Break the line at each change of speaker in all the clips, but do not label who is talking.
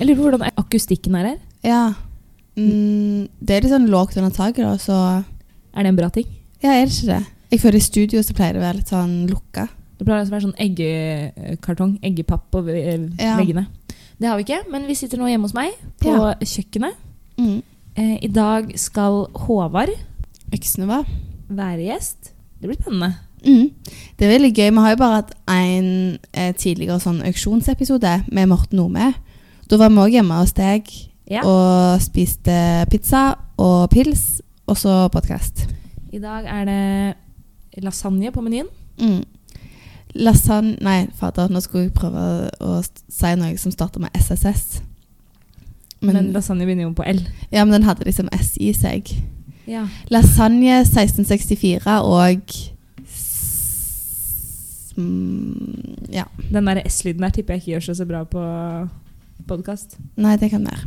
Jeg lurer på hvordan akustikken er her.
Ja. Mm, det er litt sånn lågt under taket, da, så
Er det en bra ting?
Ja, er det ikke det? Jeg føler i studio så pleier det å være litt sånn lukka.
Det pleier altså å være sånn eggekartong, eggepapp på ve-
Ja.
veggene. Det har vi ikke, men vi sitter nå hjemme hos meg på
Ja.
kjøkkenet.
Mm.
Eh, I dag skal Håvard
Øksene var.
være gjest. Det blir spennende.
Mm. Det er veldig gøy. Vi har jo bare hatt en eh, tidligere sånn auksjonsepisode med Morten Nome. Da var vi òg hjemme hos deg
Ja.
og spiste pizza og pils, og så podkast.
I dag er det lasagne på menyen.
Mm. Lasagne Nei, fader, nå skulle jeg prøve å st- si noe som starter med SSS.
Men,
Men,
lasagne begynner jo på L.
ja, men den hadde liksom S i seg.
Ja.
Lasagne 1664 og s- mm, Ja.
Den der S-lyden der tipper jeg ikke gjør seg så bra på podkast.
Nei, det kan være.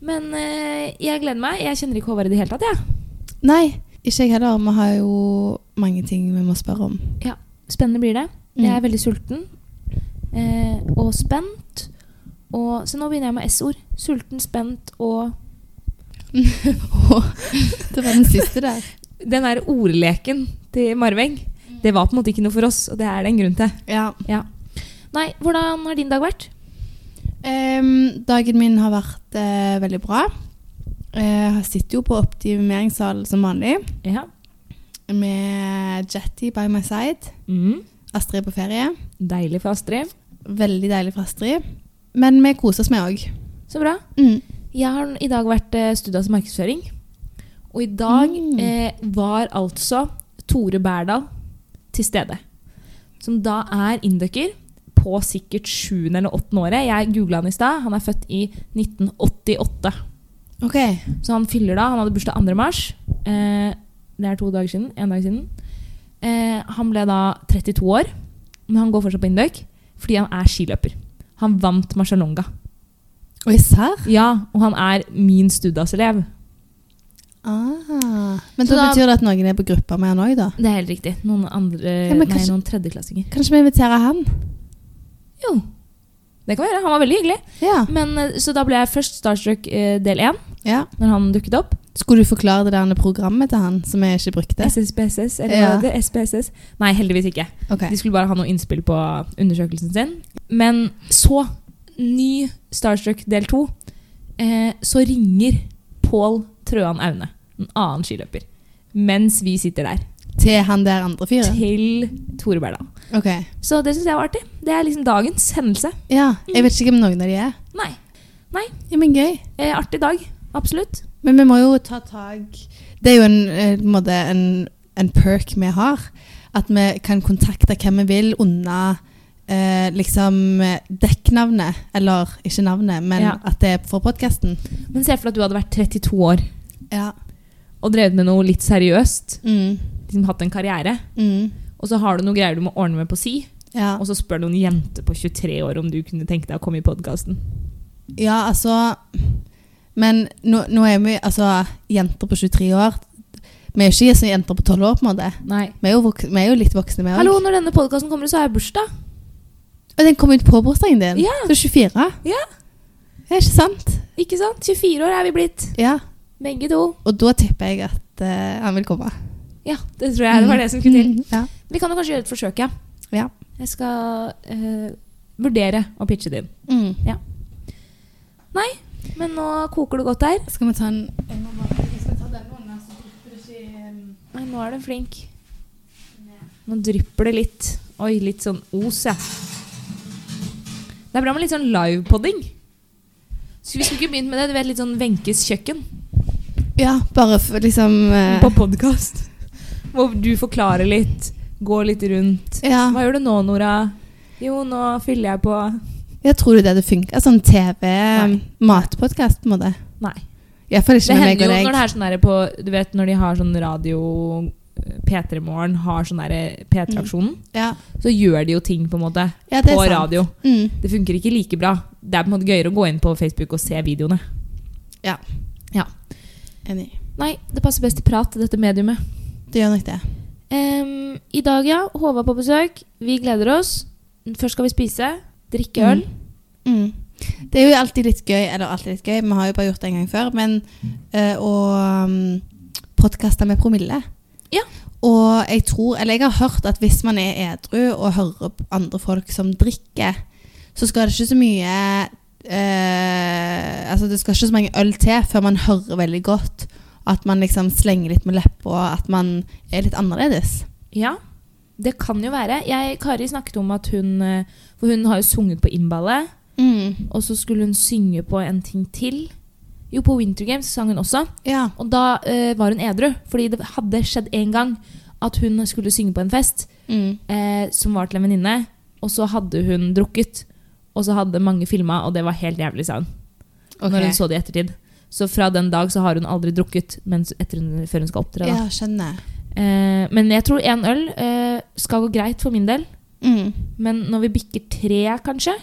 Men eh, jeg gleder meg. Jeg kjenner ikke Håvard i det hele tatt. Ja.
Nei, ikke jeg heller. Vi har jo mange ting vi må spørre om.
Spennende blir det.
Mm.
Jeg er veldig sulten eh, og spent. Og, så nå begynner jeg med S-ord. Sulten, spent og
det var den siste der.
Den der ordleken til Marveng, det var på en måte ikke noe for oss, og det er det en grunn til.
Ja.
Nei, hvordan har din dag vært?
Ehm, dagen min har vært eh, veldig bra. Eh, Jeg sitter jo på optimeringssalen som vanlig,
Ja.
med Jetty by my side.
Mm.
Astrid er på ferie.
Deilig for Astrid.
Veldig deilig for Astrid. Men vi koser oss med òg.
Så bra.
Mm.
Jeg har i dag vært eh, studiet til markedsføring. Og i dag
Mm.
eh, var altså Tore Berdal til stede. Som da er inducker på sikkert sjuende eller åttende året. Jeg googla han i stad. Han er født i 1988.
OK.
Så han fyller da. Han hadde bursdag 2. mars. Eh, det er to dager siden. En dag siden. Eh, han ble da 32 år, men han går fortsatt på induck fordi han er skiløper. Han vant Marcialonga.
Oi, serr?
Ja, og han er min Studas-elev.
Ah. Men
Så
da,
da-
betyr det at noen er på gruppa med han òg, da?
Det er helt riktig. Noen, andre,
Ja, men
nei,
kanskje-
noen tredjeklassinger.
Kanskje vi inviterer han?
Jo, det kan være. Han var veldig hyggelig.
Ja.
Men, eh, så da ble jeg først Starstruck eh, del én,
ja.
når han dukket opp.
Skulle du forklare det der programmet til han som jeg ikke brukte?
SSPSS, eller
Ja.
hva det er, SPSS. Nei, heldigvis ikke.
Ok.
De skulle bare ha noe innspill på undersøkelsen sin. Men så, ny Starstruck del to, eh, så ringer Pål Trøan Aune, en annen skiløper, mens vi sitter der,
Til han der andre fyren?
til Tore Berdal.
Ok.
Så det syns jeg var artig. Det er liksom dagens hendelse.
Ja. Jeg vet ikke hvem noen av de er.
Nei.
Ja, men gøy.
Eh, artig dag, absolutt.
Men vi må jo ta tak Det er jo en, eh, på en måte en, en perk vi har. At vi kan kontakte hvem vi vil unna eh, liksom eh, dekknavnet. Eller ikke navnet, men
Ja.
at det er for podkasten.
Men se for deg at du hadde vært 32 år
Ja.
og drevet med noe litt seriøst.
Mm.
Liksom hatt en karriere.
Mm.
Og så har du noe greier du må ordne med på si,
Ja.
og så spør noen jenter på 23 år om du kunne tenke deg å komme i podkasten.
ja, altså Men nå, nå er vi altså jenter på 23 år. Vi er jo ikke så jenter på 12 år, på en måte.
Nei.
Vi er jo, vok vi er jo litt voksne, vi òg.
Hallo, når denne podkasten kommer, så har jeg bursdag.
Og den kom ut på bursdagen din.
Ja.
Du er 24.
Ja.
Det er ikke sant?
Ikke sant? 24 år er vi blitt,
Ja.
begge to.
Og da tipper jeg at eh, han vil komme.
Ja, det tror jeg det var det som skulle til.
Mm, Ja.
Vi kan jo kanskje gjøre et forsøk, ja.
Ja.
Jeg skal eh, vurdere å pitche det inn.
Mm.
Men nå koker det godt der.
Skal vi ta en Jeg må bare jeg skal ta den altså. under, så drypper det ikke um,
Nei, nå er du flink. Nå drypper det litt. Oi, litt sånn os, ja. Det er bra med litt sånn livepodding. Så vi skulle ikke begynt med det. Du vet, litt sånn Wenches kjøkken
Ja, bare for liksom eh,
på podkast. Hvor du forklarer litt, går litt rundt.
ja.
Hva gjør du nå, Nora? Jo, nå fyller jeg på
Jeg tror det er det funker. Sånn
Nei.
TV-matpodkast, på en måte.
Nei.
Iallfall
Det
ikke med meg
hender jo når
og deg.
det er sånn der på Du vet når de har sånn radio eh, P3 Morgen har sånn derre P3-aksjonen.
Ja.
Så gjør de jo ting, på en måte.
ja, Mm. det
På
er sant.
radio.
Mm.
Det funker ikke like bra. Det er på en måte gøyere å gå inn på Facebook og se videoene.
Enig.
Nei, det passer best til prat, dette mediumet.
Det gjør nok det.
Em, I dag, ja. Håvard på besøk. Vi gleder oss. Først skal vi spise, drikke øl.
Mm. Det er jo alltid litt gøy, eller alltid litt gøy, vi har jo bare gjort det en gang før, men eh, å um, podkaste med promille.
Ja.
Og jeg tror, eller jeg har hørt at hvis man er edru og hører på andre folk som drikker, så skal det ikke så mye eh, Altså det skal ikke så mange øl til før man hører veldig godt. At man liksom slenger litt med leppa, at man er litt annerledes.
Ja, det kan jo være. Jeg, Kari snakket om at hun eh, For hun har jo sunget på innballet. Og så skulle hun synge på en ting til. Jo, på Winter Games sang hun også.
Ja.
Og da eh, var hun edru, fordi det hadde skjedd en gang at hun skulle synge på en fest
Mm.
eh, som var til en venninne, og så hadde hun drukket. Og så hadde mange filma, og det var helt jævlig, sa hun. Når hun så det i ettertid. Så fra den dag så har hun aldri drukket mens, etter hun, før hun skal opptre. Da.
Ja, skjønner.
Eh, men jeg tror én øl eh, skal gå greit for min del.
Mm.
Men når vi bikker tre, kanskje,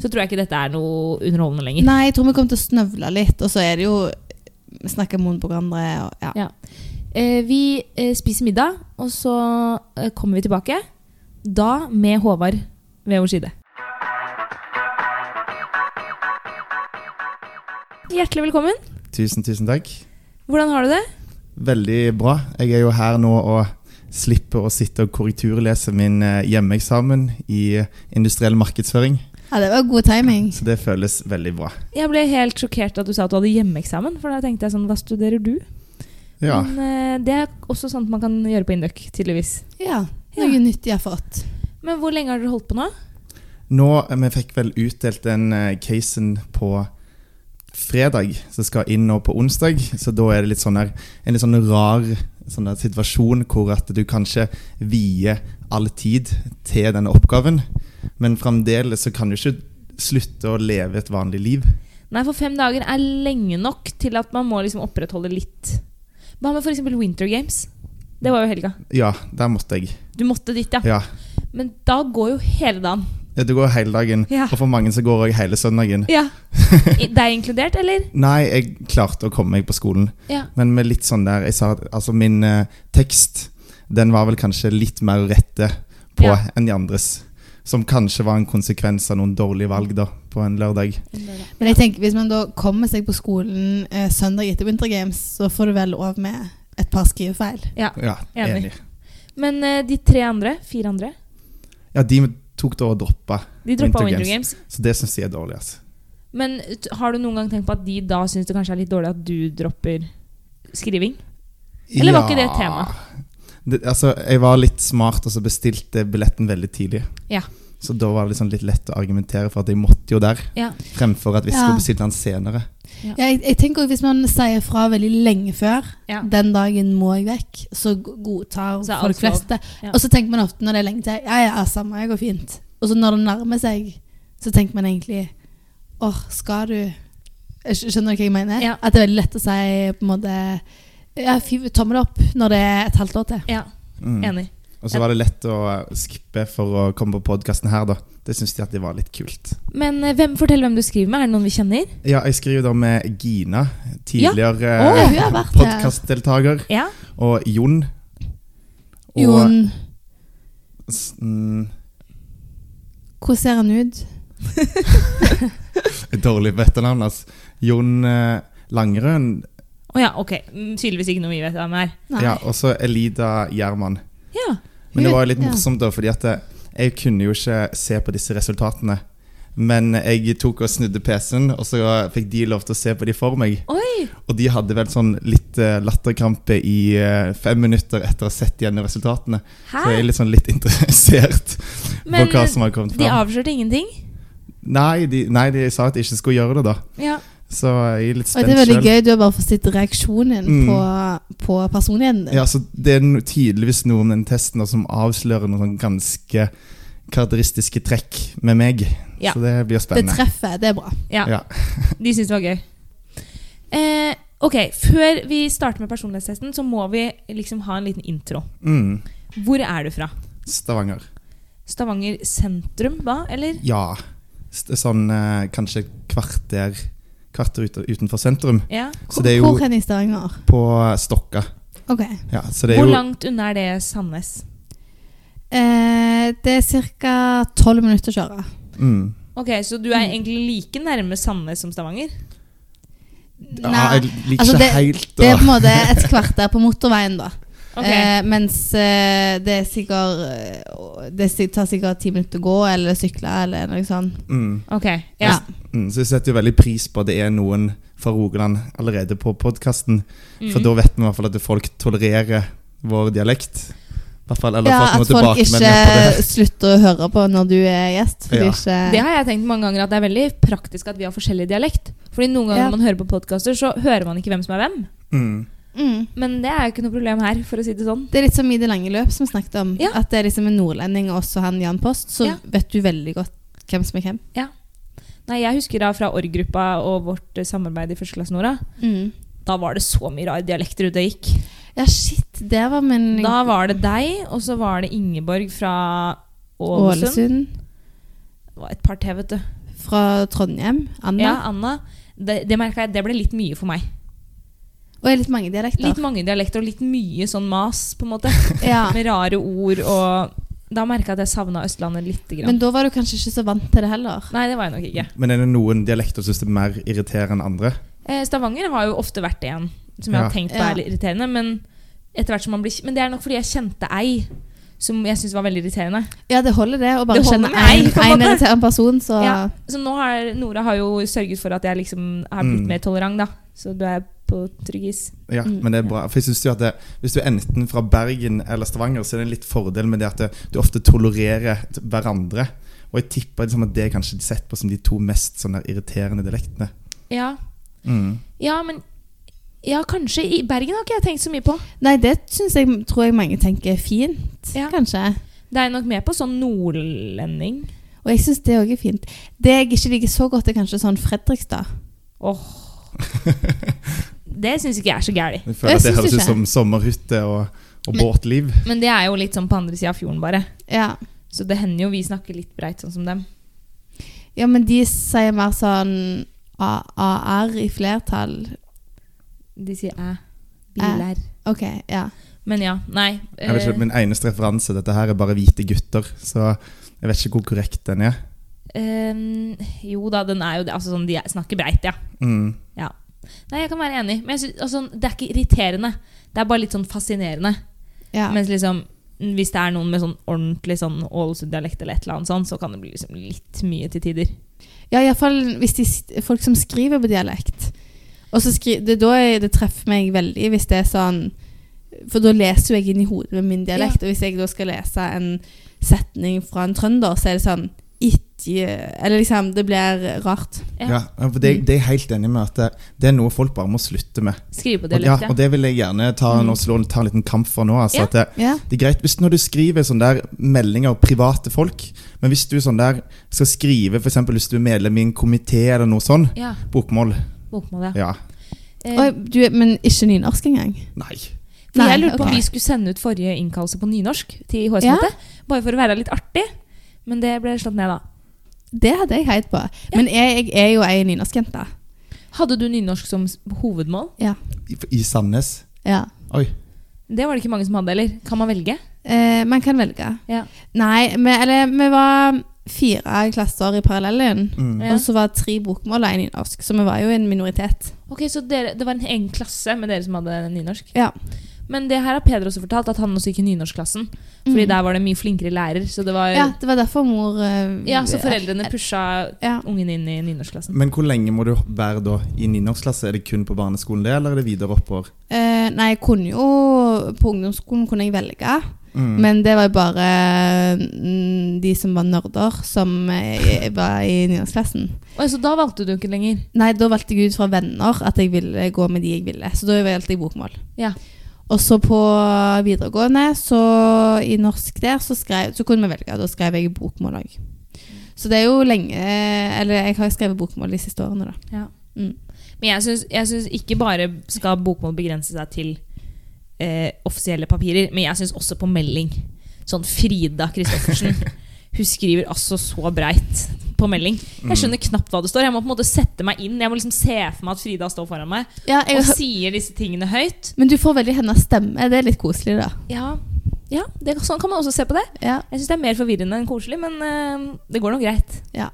så tror jeg ikke dette er noe underholdende lenger.
Nei, jeg tror vi kommer til å snøvle litt, og så er det jo vi snakker munn på hverandre. Og, ja.
Ja. Eh, vi eh, spiser middag, og så eh, kommer vi tilbake. Da med Håvard ved vår side. Hjertelig velkommen.
Tusen, tusen takk.
Hvordan har du det?
Veldig bra. Jeg er jo her nå og slipper å sitte og korrekturlese min eh, hjemmeeksamen i eh, industriell markedsføring.
ja, det var god timing.
Så det føles veldig bra.
Jeg ble helt sjokkert at du sa at du hadde hjemmeeksamen. For da tenkte jeg sånn, hva studerer du?
Ja.
Men eh, det er også sånt man kan gjøre på Induc, tydeligvis.
Ja, noe nytt jeg har fått.
Men hvor lenge har dere holdt på nå?
Nå eh, vi fikk vel utdelt den eh, casen på fredag, som skal inn nå på onsdag. Så da er det litt sånn her, en litt sånn rar sånn der situasjon hvor at du kanskje vier all tid til denne oppgaven. Men fremdeles så kan du ikke slutte å leve et vanlig liv.
Nei, for fem dager er lenge nok til at man må liksom opprettholde litt. Hva med f.eks. Winter Games? Det var jo helga.
Ja, der måtte jeg.
Du måtte dit, ja.
Ja.
Men da går jo hele dagen.
Ja, Du går hele dagen,
Ja.
og for mange så går jeg hele søndagen.
Ja. I- Deg inkludert, eller?
Nei, jeg klarte å komme meg på skolen,
Ja.
men med litt sånn der jeg sa, at- Altså, min eh, tekst den var vel kanskje litt mer å rette på
Ja.
enn de andres. Som kanskje var en konsekvens av noen dårlige valg da, på en lørdag.
Men jeg tenker, hvis man da kommer seg på skolen eh, søndag etter Winter Games, så får du vel lov med et par skrivefeil.
Ja,
Enig.
enig.
Men eh, de tre andre, fire andre,
Ja, de tok da og droppa,
de droppa
Winter
Winter
Games.
Games.
så det syns jeg er dårlig. Altså.
Men t- har du noen gang tenkt på at de da syns det kanskje er litt dårlig at du dropper skriving? Eller var ikke det et tema?
Det, altså, jeg var litt smart, og så bestilte billetten veldig tidlig.
Ja.
Så da var det liksom litt lett å argumentere for at jeg måtte jo der.
Ja.
Fremfor at vi
Ja.
skulle bestilt den senere.
Ja, jeg, jeg tenker også Hvis man sier fra veldig lenge før
Ja.
den dagen må jeg vekk, så go- godtar
Så er alt
folk fleste.
Ja.
Og så tenker man ofte når det er lenge til ja, ja, samme, det går fint. Og så når det nærmer seg, så tenker man egentlig åh, skal du Skj- Skjønner du hva jeg mener?
Ja.
At det er veldig lett å si på en måte ja, fy- tommel opp når det er et halvt år til.
ja.
Mm.
Enig.
Og så var det lett å skippe for å komme på podkasten her, da. Det syns de at det var litt kult.
Men eh, hvem, fortell hvem du skriver med. Er det noen vi kjenner?
Ja, jeg skriver da med Gina, tidligere
Å,
eh,
hun har vært her.
podkastdeltaker,
Ja.
og Jon. Og
Jon,
s- mm,
hvordan ser han ut?
Dårlig på etternavn, altså. Jon eh, Langrøn.
Å ja, ok. Mm, Tydeligvis ikke noe vi vet hvem er.
Nei.
Ja, og så Elida Gjerman.
Ja.
Men det var jo litt
Ja.
morsomt, da, fordi at eh, jeg kunne jo ikke se på disse resultatene. Men jeg tok og snudde PC-en, og så fikk de lov til å se på de for meg.
Oi!
Og de hadde vel sånn litt eh, latterkrampe i eh, fem minutter etter å ha sett igjen resultatene.
Hæ?
Så jeg er litt sånn litt interessert
Men
på hva som har kommet
de
fram.
avslørte ingenting.
Nei, de, nei, de sa at jeg ikke skulle gjøre det, da.
Ja.
Så jeg er
Og
litt
det
spent
er veldig
sjøl.
gøy, du har bare fått sett reaksjonen
Mm.
på, på personligheten din.
Ja, så det er no, tydeligvis noe om den testen da, som avslører noen sånn ganske karakteristiske trekk med meg.
Ja.
Så det blir
det
spennende.
treffer, det er bra.
ja.
Ja.
De syntes det var gøy. Eh, ok, Før vi starter med personlighetstesten, så må vi liksom ha en liten intro.
Mm.
Hvor er du fra?
Stavanger.
Stavanger sentrum, hva? Eller?
Ja. St- Sånn eh, kanskje et kvarter, kvarter ute- utenfor sentrum.
Ja.
Så det er jo
Hvor hen i Stavanger?
på Stokka.
Ok.
Ja, så det er
Hvor
jo
langt unna er det Sandnes?
Eh, det er ca. tolv minutter å kjøre.
mm,
Å Ok, Så du er egentlig like nærme Sandnes som Stavanger?
Ja,
Nei,
jeg liker
altså,
ikke helt
Det er
å
på en måte et kvarter på motorveien, da.
Ok,
Eh, mens eh, det er sikkert eh, Det er si- tar sikkert ti minutter å gå eller sykle eller noe sånt.
mm,
ok, ja.
Ja.
mm, Så jeg setter jo veldig pris på at det er noen fra Rogaland allerede på podkasten. For
Mm.
da vet vi i hvert fall at folk tolererer vår dialekt. I hvert fall, eller
Ja,
får noen
at folk ikke
tilbakemeldinger på det.
slutter å høre på når du er gjest. Fordi
Ja.
ikke
Det har jeg tenkt mange ganger at det er veldig praktisk at vi har forskjellig dialekt. Fordi noen ganger
Ja.
når man hører på podkaster, så hører man ikke hvem som er hvem.
Mm.
mm.
Men det er jo ikke noe problem her, for å si det sånn.
Det er litt som i det lange løp som vi snakket om.
Ja.
At det er liksom en nordlending og også han Jan Post, så
Ja.
vet du veldig godt hvem som er hvem.
Nei, Jeg husker da fra org-gruppa og vårt eh, samarbeid i førsteklassen, Nora. Da var det så mye rare dialekter ute og gikk.
Ja, shit, det var min
Da var det deg, og så var det Ingeborg fra Ålesund.
Ålesund.
Det var et par til, vet du.
Fra Trondheim. Anna.
Ja, Anna. Det, det merket jeg, det ble litt mye for meg.
Og er litt mange dialekter.
Litt mange dialekter og litt mye sånn mas, på en måte.
ja.
Med rare ord og Da merka jeg at jeg savna Østlandet lite grann.
Men da var du kanskje ikke så vant til det heller.
Nei, det var jeg nok ikke.
Men er det noen dialekter som synes det er mer irriterende enn andre?
Eh, Stavanger har jo ofte vært en som jeg har
Ja.
tenkt på er
Ja.
litt irriterende. Men, etter hvert som man blir, men det er nok fordi jeg kjente ei som jeg syntes var veldig irriterende.
Ja, det holder det å bare
Det holder
kjenne
med ei,
én
på en måte.
irriterende person, så ja.
Ja. Så nå har Nora har jo sørget for at jeg liksom har blitt
Mm.
mer tolerant, da. Så du er på trygg is.
Ja,
Mm.
men det er bra. For jeg synes jo at det, Hvis du er enten fra Bergen eller Stavanger, så er det en litt fordel med det at det, du ofte tolererer t- hverandre. Og jeg tipper liksom at det er kanskje sett på som de to mest sånn der irriterende dialektene.
Ja.
Mm.
ja, men Ja, kanskje. I Bergen har ikke jeg tenkt så mye på.
Nei, det syns jeg tror jeg mange tenker er fint,
Ja.
kanskje.
Det er nok mer på sånn nordlending.
Og jeg syns det òg er fint. Det jeg ikke liker så godt, er kanskje sånn Fredrikstad.
Åh. Det syns ikke jeg er så gæli.
Jeg føler
Jeg
at det
synes
høres
ikke.
ut som sommerhytte og, og
Men-
båtliv.
Men det er jo litt sånn på andre sida av fjorden, bare.
Ja.
Så det hender jo vi snakker litt breit, sånn som dem.
ja, men de sier mer sånn A- AR i flertall.
De sier æ. Biler.
OK, ja.
Men ja, nei.
Jeg vet ikke,
eh,
Min eneste referanse dette her er bare hvite gutter, så jeg vet ikke hvor korrekt den er.
eh, jo da, den er jo det. Altså, sånn, de snakker breit, ja.
Mm.
Nei, jeg kan være enig. Men jeg synes, altså, det er ikke irriterende. Det er bare litt sånn fascinerende.
ja.
Mens liksom, hvis det er noen med sånn ordentlig sånn Ålesund-dialekt eller et eller annet sånn, så kan det bli liksom litt mye til tider.
Ja, iallfall hvis de, s- folk som skriver på dialekt. Og så skri, det, er da jeg, det treffer meg veldig hvis det er sånn For da leser jo jeg inn i hodet med min dialekt. Og hvis jeg da skal lese en setning fra en trønder, så er det sånn Ikke Eller liksom Det blir rart.
Ja.
Ja, ja, for det,
Mm.
det er jeg helt enig med at det, det er noe folk bare må slutte med.
Skrive på
Og, ja,
dialekt, ja.
og det vil jeg gjerne ta,
Mm.
nå slå, ta en liten kamp for nå. Altså,
Ja.
at det,
Ja.
Det er greit hvis når du skriver sånne der meldinger av private folk, men hvis du sånn der skal skrive f.eks. hvis du er medlem i en komité eller noe sånn,
Ja,
bokmål
bokmål, ja.
Ja.
Eh,
Oi, du, men ikke nynorsk engang?
Nei.
for
Nei,
jeg lurte på om
ok.
vi skulle sende ut forrige innkallelse på nynorsk til
Ja.
HS-møtet. Bare for å være litt artig. Men det ble slått ned, da.
Det hadde jeg heid på. Men jeg, jeg er jo ei nynorskjente.
Hadde du nynorsk som s- hovedmål?
I, i Sandnes.
Ja.
Oi.
Det var det ikke mange som hadde, eller? Kan man velge?
Eh, man kan velge.
Ja.
Nei, vi, eller vi var fire klasser i parallellen.
Mm.
Ja.
Og så var det tre bokmål og en nynorsk, så vi var jo en minoritet.
Ok, Så dere, det var en egen klasse med dere som hadde nynorsk?
Ja.
Men det her har Peder også fortalt, at han også gikk i nynorskklassen. Fordi
Mhm.
der var det mye flinkere lærer. Så det var
Ja,
ja.
det var derfor mor eh,
så foreldrene pusha
Ja.
ungen inn i nynorskklassen.
Men hvor lenge må du være da i nynorskklasse? Er det kun på barneskolen det, eller er det videre oppover?
Eh, nei, jeg kunne jo På ungdomsskolen kunne jeg velge,
Mm.
men det var jo bare mm, de som var nerder, som eh, var i nynorskklassen.
Oi, så da valgte du ikke lenger?
Nei, da valgte jeg ut fra venner at jeg ville gå med de jeg ville. Så da valgte jeg bokmål.
Ja.
Og så på videregående, så i norsk der, så, skrev, så kunne vi velge. Da skrev jeg bokmål òg. Så det er jo lenge Eller jeg har skrevet bokmål de siste årene, da.
Ja.
Mm.
Men jeg syns, jeg syns ikke bare skal bokmål begrense seg til eh, offisielle papirer, men jeg syns også på melding. Sånn Frida Christoffersen. Hun skriver altså så breit på melding.
Mm.
Jeg skjønner knapt hva det står. Jeg må på en måte sette meg inn. Jeg må liksom se for meg at Frida står foran meg
Ja, jeg,
og sier disse tingene høyt.
men du får veldig hennes stemme. Det er litt koselig, da.
Ja, ja det, sånn kan man også se på det.
Ja,
Jeg syns det er mer forvirrende enn koselig, men eh, det går nå greit.
ja.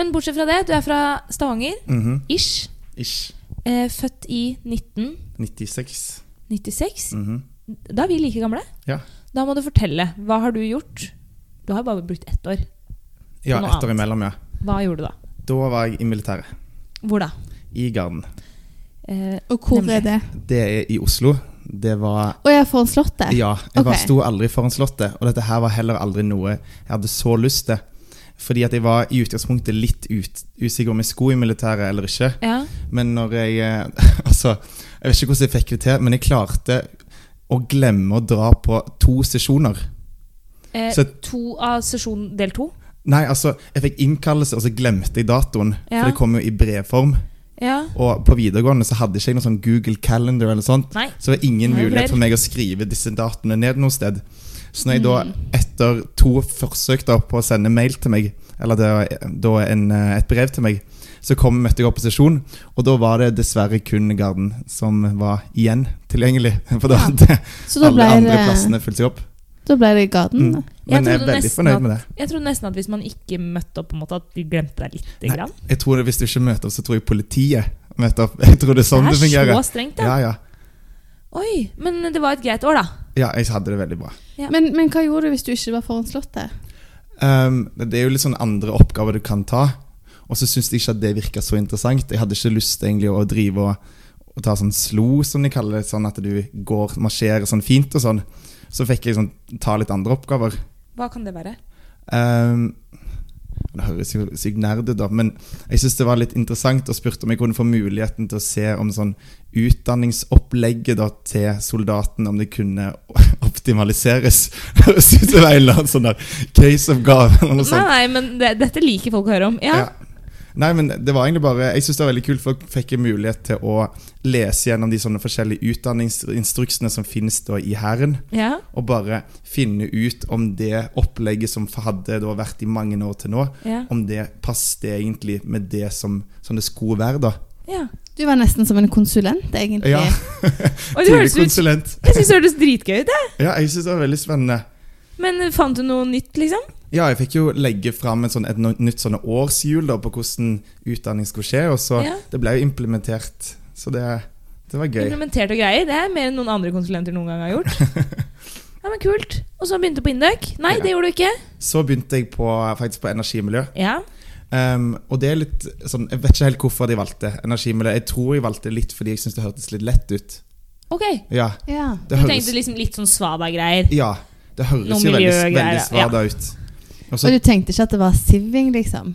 Men bortsett fra det, du er fra Stavanger.
Mhm.
Ish.
Ish.
Eh, født i 1996.
96. Mhm.
Da er vi like gamle.
Ja.
Da må du fortelle. Hva har du gjort? Du har bare brukt ett år.
Ja,
Noe
ett år
annet.
imellom, ja.
Hva gjorde du da?
Da var jeg i militæret.
Hvor da?
I Garden.
Eh,
Og hvor
Nemlig.
er det?
Det er i Oslo. Det var
Å, jeg får en slått det.
Ja, jeg bare
Ok.
sto aldri foran Slottet, og dette her var heller aldri noe jeg hadde så lyst til. Fordi at jeg var i utgangspunktet litt ut, usikker om jeg skulle i militæret eller ikke.
ja.
Men når jeg eh, Altså, jeg vet ikke hvordan jeg fikk det til, men jeg klarte å glemme å dra på to sesjoner.
Eh,
Så-
to av sesjon del to.
Nei, altså, jeg fikk innkallelse, og så glemte jeg datoen.
Ja.
For det kom jo i brevform.
Ja.
Og på videregående så hadde ikke jeg noe sånn Google Calendar eller sånt.
Nei.
Så det var ingen
Nei,
mulighet
vel.
for meg å skrive disse datene ned noe sted. Så når jeg da,
Mm.
etter to forsøk da på å sende mail til meg, eller det var da en, eh, et brev til meg, så kom, møtte jeg opp på sesjon, og da var det dessverre kun Garden som var igjen tilgjengelig. For da
Ja.
hadde
Så da
alle
ble
andre
det,
plassene fylt seg opp.
da ble det Garden.
Mm.
da.
Jeg
Men jeg er
trodde
veldig
nesten
fornøyd med det.
Jeg trodde nesten at hvis man ikke møtte opp, på en måte, at de glemte deg lite
Nei,
grann.
Jeg tror det, Hvis du ikke møter opp, så tror jeg politiet møter opp. Jeg tror det er sånn det,
det er
fungerer.
så strengt, da.
Ja, ja.
Oi, men det var et greit år, da.
ja, jeg hadde det veldig bra.
Ja.
Men, men hva gjorde du hvis du ikke var foran Slottet?
Um, det er jo litt sånn andre oppgaver du kan ta. Og så syns jeg ikke at det virka så interessant. Jeg hadde ikke lyst egentlig å drive og, og ta sånn slo, som de kaller det. Sånn at du går, marsjerer sånn fint og sånn. Så fikk jeg sånn ta litt andre oppgaver.
Hva kan det være?
Um, det høres jo sykt nerd ut, da, men jeg syns det var litt interessant og spurte om jeg kunne få muligheten til å se om sånn utdanningsopplegget da, til soldaten om det kunne optimaliseres. Høres ut som en eller annen sånn der case-oppgave eller noe
Nei,
sånt.
nei, men det, dette liker folk å høre om. Ja.
Ja. Nei, men det var egentlig bare Jeg synes det var veldig kult, for jeg fikk en mulighet til å lese gjennom de sånne forskjellige utdanningsinstruksene som finnes da i Hæren,
ja.
og bare finne ut om det opplegget som hadde da vært i mange år til nå,
ja.
om det passet egentlig med det som, som det skulle være, da.
ja.
Du var nesten som en konsulent, egentlig.
Ja,
Oi, det
tidlig
høres ut
konsulent.
Jeg syns det hørtes dritgøy ut, jeg.
Ja, jeg synes det var veldig spennende.
Men fant du noe nytt, liksom?
Ja, jeg fikk jo legge fram et, sånn, et no- nytt sånne årshjul da, på hvordan utdanning skulle skje, og så
Ja.
det ble jo implementert. Så det, det var gøy.
Implementert og greier. Det er mer enn noen andre konsulenter noen gang har gjort. Ja, men Kult. Og så begynte du på Induc. Nei,
Ja.
det gjorde du ikke.
Så begynte jeg på, faktisk på energimiljø.
Ja.
Ehm, og det er litt sånn, Jeg vet ikke helt hvorfor de valgte energimiljø. Jeg tror jeg valgte litt fordi jeg syntes det hørtes litt lett ut.
Ok.
Ja,
Ja.
Du
det høres,
tenkte liksom litt sånn Svada-greier.
ja, det høres
Noen
jo veldig,
miljøgreier,
veldig
ja.
svada ut. Og
Og
så,
du tenkte ikke at det var siving, liksom?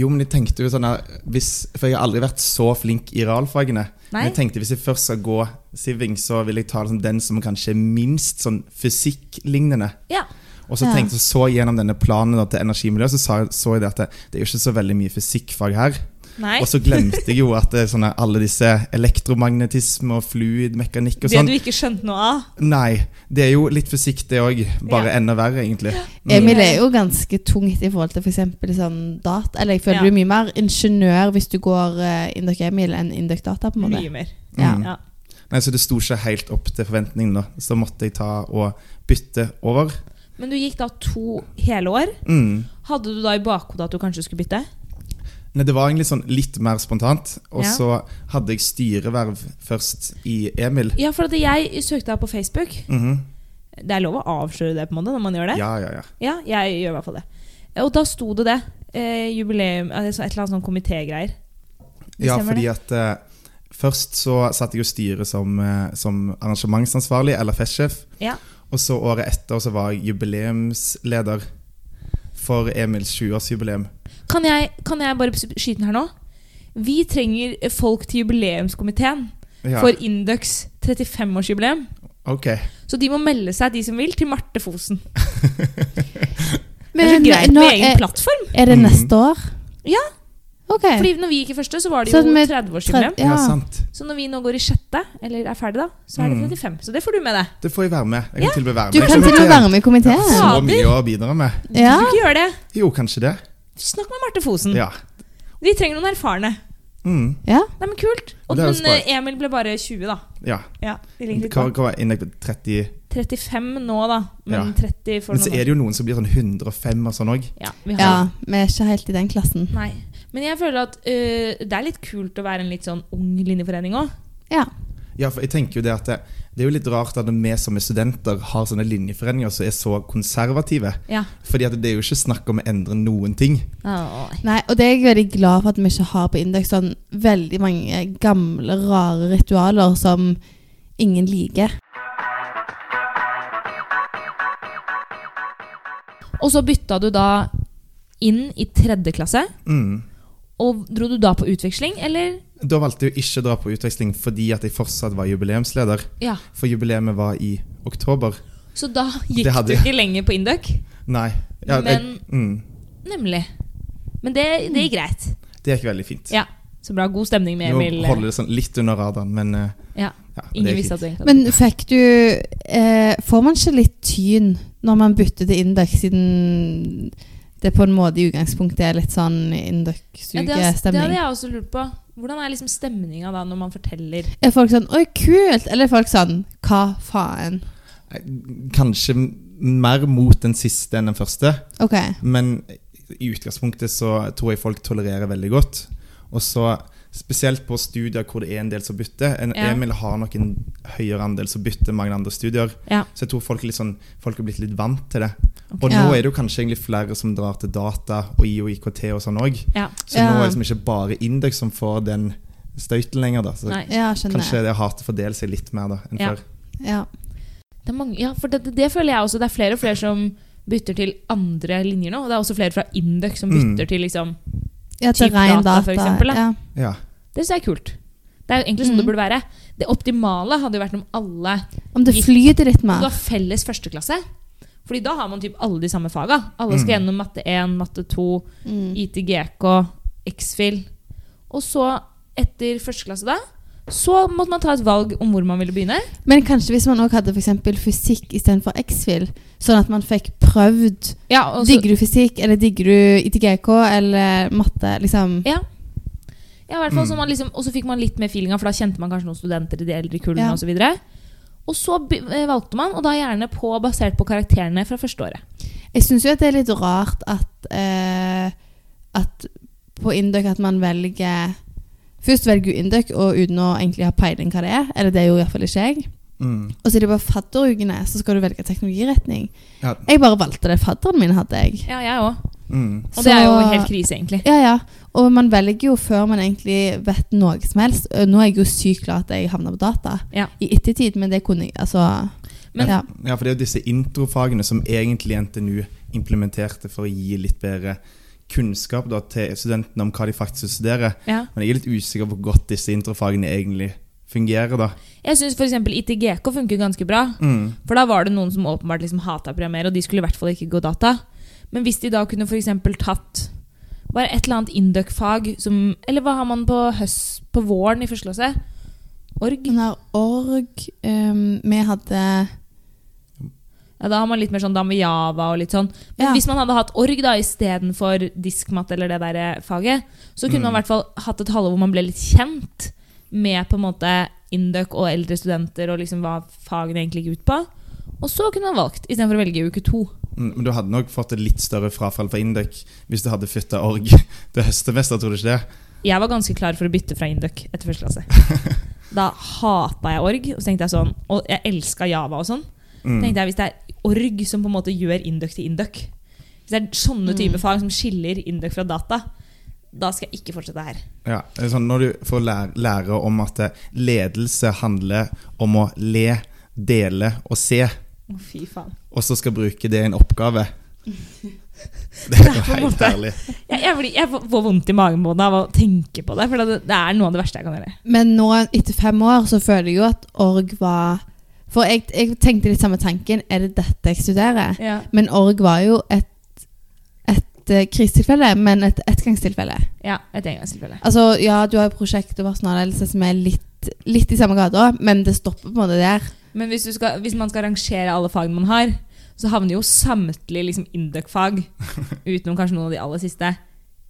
jo, men jeg tenkte jo sånn her hvis, For jeg har aldri vært så flink i realfagene. Men
Nei?
jeg tenkte hvis jeg først skal gå siving, så vil jeg ta liksom den som kanskje er minst sånn fysikklignende.
Ja.
Og så
Ja.
tenkte jeg så gjennom denne planen da, til energimiljø, så sa, så jeg det at det, det er jo ikke så veldig mye fysikkfag her.
Nei.
Og så glemte jeg jo at det er sånne, alle disse elektromagnetisme og fluidmekanikk og
Det
sånn.
du ikke skjønte noe av.
Nei, det er jo litt fysikk det òg, bare enda verre, egentlig. Mm.
Emil er jo ganske tungt i forhold til f.eks. sånn dat... Eller jeg føler
Ja.
du er mye mer ingeniør hvis du går uh, Induc Emil enn Induc Data, på en måte.
Mye mer.
Ja.
Mm.
Ja.
Nei, Så det sto ikke helt opp til forventningene, da. Så måtte jeg ta og bytte over.
Men du gikk da to hele år.
Mm.
Hadde du da i bakhodet at du kanskje skulle bytte?
Nei, det var egentlig sånn litt mer spontant. Og
Ja.
så hadde jeg styreverv først i Emil.
Ja, for at jeg søkte deg på Facebook.
Mhm.
Det er lov å avsløre det på en måte når man gjør det.
Ja, ja, ja.
Ja, jeg gjør i hvert fall det. Eh, Og da sto det det. Eh, jubileum altså Et eller annet sånn komitégreier. Det
Ja,
stemmer
fordi at eh, først så satt jeg jo styret som, eh, som arrangementsansvarlig, eller festsjef.
Ja.
Og så året etter så var jeg jubileumsleder for Emils 20-årsjubileum.
Kan jeg, kan jeg bare skyte den her nå? Vi trenger folk til jubileumskomiteen
Ja,
for Indux 35-årsjubileum.
ok.
Så de må melde seg, de som vil, til Marte Fosen. det
Men
er så greit
nå eh,
med egen
er,
plattform.
er det
Mhm.
neste år?
Ja.
Ok.
Fordi når vi gikk i første, så var det
eh. Så
jo
med
30-årsjubileum.
Ja.
Ja.
sant.
Så når vi nå går i sjette, eller er ferdig da, så er det
Mm.
35. Så det får du med deg.
Det får jeg være med. Jeg kan
Ja,
til og med være med.
Du
Jeg
kan
skjønner
til og med
ikke
være med i komiteen.
jeg har Så
Fader.
mye å bidra med.
Ja.
Du ikke gjør det.
Jo, kanskje det.
Snakk med Marte
Mm.
Fosen.
Ja.
Vi trenger noen erfarne.
Mm,
ja.
Nei, men kult. Og,
Det er jo
men
smart.
eh, Emil ble bare 20, da.
ja.
Ja, det ligger litt
Hva,
bak.
hva var innlegg på 30
35 nå, da. Men
Ja.
30 for
Men så
noen
er det jo noen som blir sånn 105 og sånn òg.
år. Ja, vi har
ja. Vi er ikke helt i den klassen.
Nei. Men jeg føler at øh, det er litt kult å være en litt sånn ung linjeforening òg.
Ja.
Ja, for jeg tenker jo Det at det, det er jo litt rart at vi som er studenter, har sånne linjeforeninger som er så konservative.
Ja.
Fordi at det er jo ikke snakk om å endre noen ting.
Nei, og det er jeg veldig glad for at vi ikke har på Indeks sånn veldig mange gamle, rare ritualer som ingen liker.
Og så bytta du da inn i tredje klasse.
Mm.
Og dro du da på utveksling, eller?
Da valgte jeg jo ikke å dra på utveksling fordi at jeg fortsatt var jubileumsleder.
Ja.
For jubileet var i oktober.
Så da gikk
Det hadde
du
jeg.
ikke lenger på Induc.
Nei. Ja, jeg, mm,
Nemlig. Men det, det gikk greit.
det gikk veldig fint.
Ja, Så bra. God stemning med
Nå
Emil.
holder det sånn litt under radaren, men eh,
Ja.
ja, det
Ingen
gikk
visste at
fint.
du egentlig hadde
Men fikk du eh, Får man ikke litt tyn når man bytter til Indeks, siden det på en måte i utgangspunktet er litt sånn
Ja, det, har- det hadde
Indeks-sugestemning?
jeg også lurt på. Hvordan er liksom stemninga da når man forteller?
er folk sånn 'oi, kult', eller er folk sånn 'hva faen'?
Nei, Kanskje mer mot den siste enn den første.
Ok.
Men i utgangspunktet så tror jeg folk tolererer veldig godt. Og så spesielt på studier hvor det er en del som bytter. En,
Ja.
Emil har nok en høyere andel som bytter enn mange andre studier.
Ja.
Så jeg tror folk er, litt sånn, folk er blitt litt vant til det.
Ok.
Og
Ja.
nå er det jo kanskje egentlig flere som drar til data og IO og IKT og sånn òg.
Ja.
Så nå er
Ja.
det liksom ikke bare Indøk som får den støyten lenger, da. Så
Nei.
Ja, skjønner.
kanskje det hatet fordeler seg litt mer da enn
Ja.
før.
Ja.
Det er mange, ja, for det, det føler jeg også. Det er flere og flere som bytter til andre linjer nå. Og det er også flere fra Induc som
Mm.
bytter til liksom
ja til
Typ data,
ren data.
for eksempel, da.
Ja.
Ja.
Det synes jeg er kult. Det er jo egentlig sånn det
Mm.
burde være. Det optimale hadde jo vært om alle
Om det
Gikk-
flyter litt
Du
mer.
har felles førsteklasse. Fordi da har man typ alle de samme faga. Alle skal
Mm.
gjennom matte 1, matte 2,
Mm.
ITGK, X-FIL. Og så, etter førsteklasse da, så måtte man ta et valg om hvor man ville begynne.
Men kanskje hvis man også hadde for eksempel fysikk istedenfor X-fil, sånn at man fikk prøvd
Ja, og så,
Digger du fysikk, eller digger du ITGK eller matte? Liksom.
Ja. ja, i hvert fall
Mm.
så man liksom, Og så fikk man litt mer feelinga, for da kjente man kanskje noen studenter i de eldre kullene
Ja.
og så videre Og så be- eh, valgte man, og da gjerne på, basert på karakterene fra første året.
Jeg syns jo at det er litt rart at, eh, at på Indøk at man velger Først velger du Indøk og uten å egentlig ha peiling hva det er. Eller det er jo i hvert fall ikke jeg.
Mm.
Og så er det bare fadderukene, så skal du velge teknologiretning.
Ja.
Jeg bare valgte det fadderen min hadde, jeg.
Ja, jeg òg.
Mm.
Og det er jo
Så-
helt krise, egentlig.
Ja, ja. Og man velger jo før man egentlig vet noe som helst. Eh, Nå er jeg jo sykt glad at jeg havna på data
Ja.
i ettertid, men det kunne jeg altså
Men-
ja.
Ja, for det er jo disse introfagene som egentlig NTNU implementerte for å gi litt bedre kunnskap da, til studentene om hva de faktisk studerer.
Ja.
Men jeg er litt usikker på hvor godt disse introfagene egentlig fungerer. da.
Jeg syns f.eks. ITGK funker ganske bra.
Mm.
For da var det noen som åpenbart liksom hata programmere, og de skulle i hvert fall ikke gå data. Men hvis de da kunne f.eks. tatt bare et eller annet induc-fag som Eller hva har man på, høst, på våren i første klasse? Org?
Den her org ehm, Vi hadde
Ja, da har man litt mer sånn da med Java og litt sånn. Men
Ja.
hvis man hadde hatt org da istedenfor diskmat eller det der faget, så kunne
Mm.
man i hvert fall hatt et halvår hvor man ble litt kjent med på en måte Induc og eldre studenter og liksom hva fagene egentlig gikk ut på. Og så kunne man valgt, istedenfor å velge uke to.
Mm, Men du hadde nok fått et litt større frafall fra Indøk hvis du hadde flytta org til høstsemester, tror du ikke det?
Jeg var ganske klar for å bytte fra Induc etter første klasse. Da hata jeg org, og så tenkte jeg sånn Og jeg elska Java og sånn.
Mm.
tenkte jeg Hvis det er org som på en måte gjør Induc til Induc Hvis det er sånne type
Mm.
fag som skiller Induc fra data, da skal jeg ikke fortsette her.
Ja, det er sånn, Når du får lære, lære om at eh, ledelse handler om å le, dele og se,
Å, fy faen.
og så skal bruke det i en oppgave Det er jo
på en
helt
måte-
herlig.
Jeg, jeg, blir, jeg får- får vondt i magen både av å tenke på det, for det, det er noe av det verste jeg kan gjøre.
Men nå, etter fem år, så føler jeg jo at org var For jeg, jeg tenkte litt samme tanken. Er det dette jeg studerer? Men org var jo et, et eh, krisetilfelle, men et ettgangstilfelle.
Ja, et engangstilfelle.
Altså, ja, du har jo prosjekt og personalledelse som er litt, litt i samme gata, men det stopper på en måte der.
Men hvis, du skal, hvis man skal rangere alle fagene man har, så havner jo samtlige liksom, Induc-fag, utenom kanskje noen av de aller siste,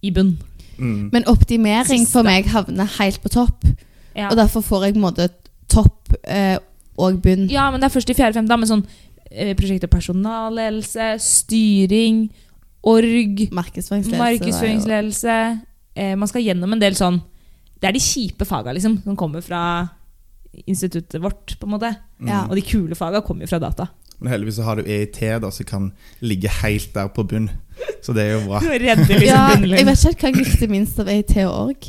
i bunn.
Mm.
Men optimering
Siste.
for meg havner helt på topp,
Ja.
og derfor får jeg på en måte topp eh, og bunn.
ja, men det er først i fjerde-femte, da, med sånn eh, prosjekt- og personalledelse, styring, org,
Markedsføringsledelse. var jo-
markedsføringsledelse, eh, man skal gjennom en del sånn Det er de kjipe faga liksom, som kommer fra instituttet vårt, på en måte.
Ja.
Og de kule faga kommer jo fra data.
mm. Men heldigvis så har du EIT, da, som kan ligge helt der på bunn. Så det er jo bra.
Redde liksom
Ja, jeg
bunnlinjen.
vet ikke hva jeg likte minst av EIT og org.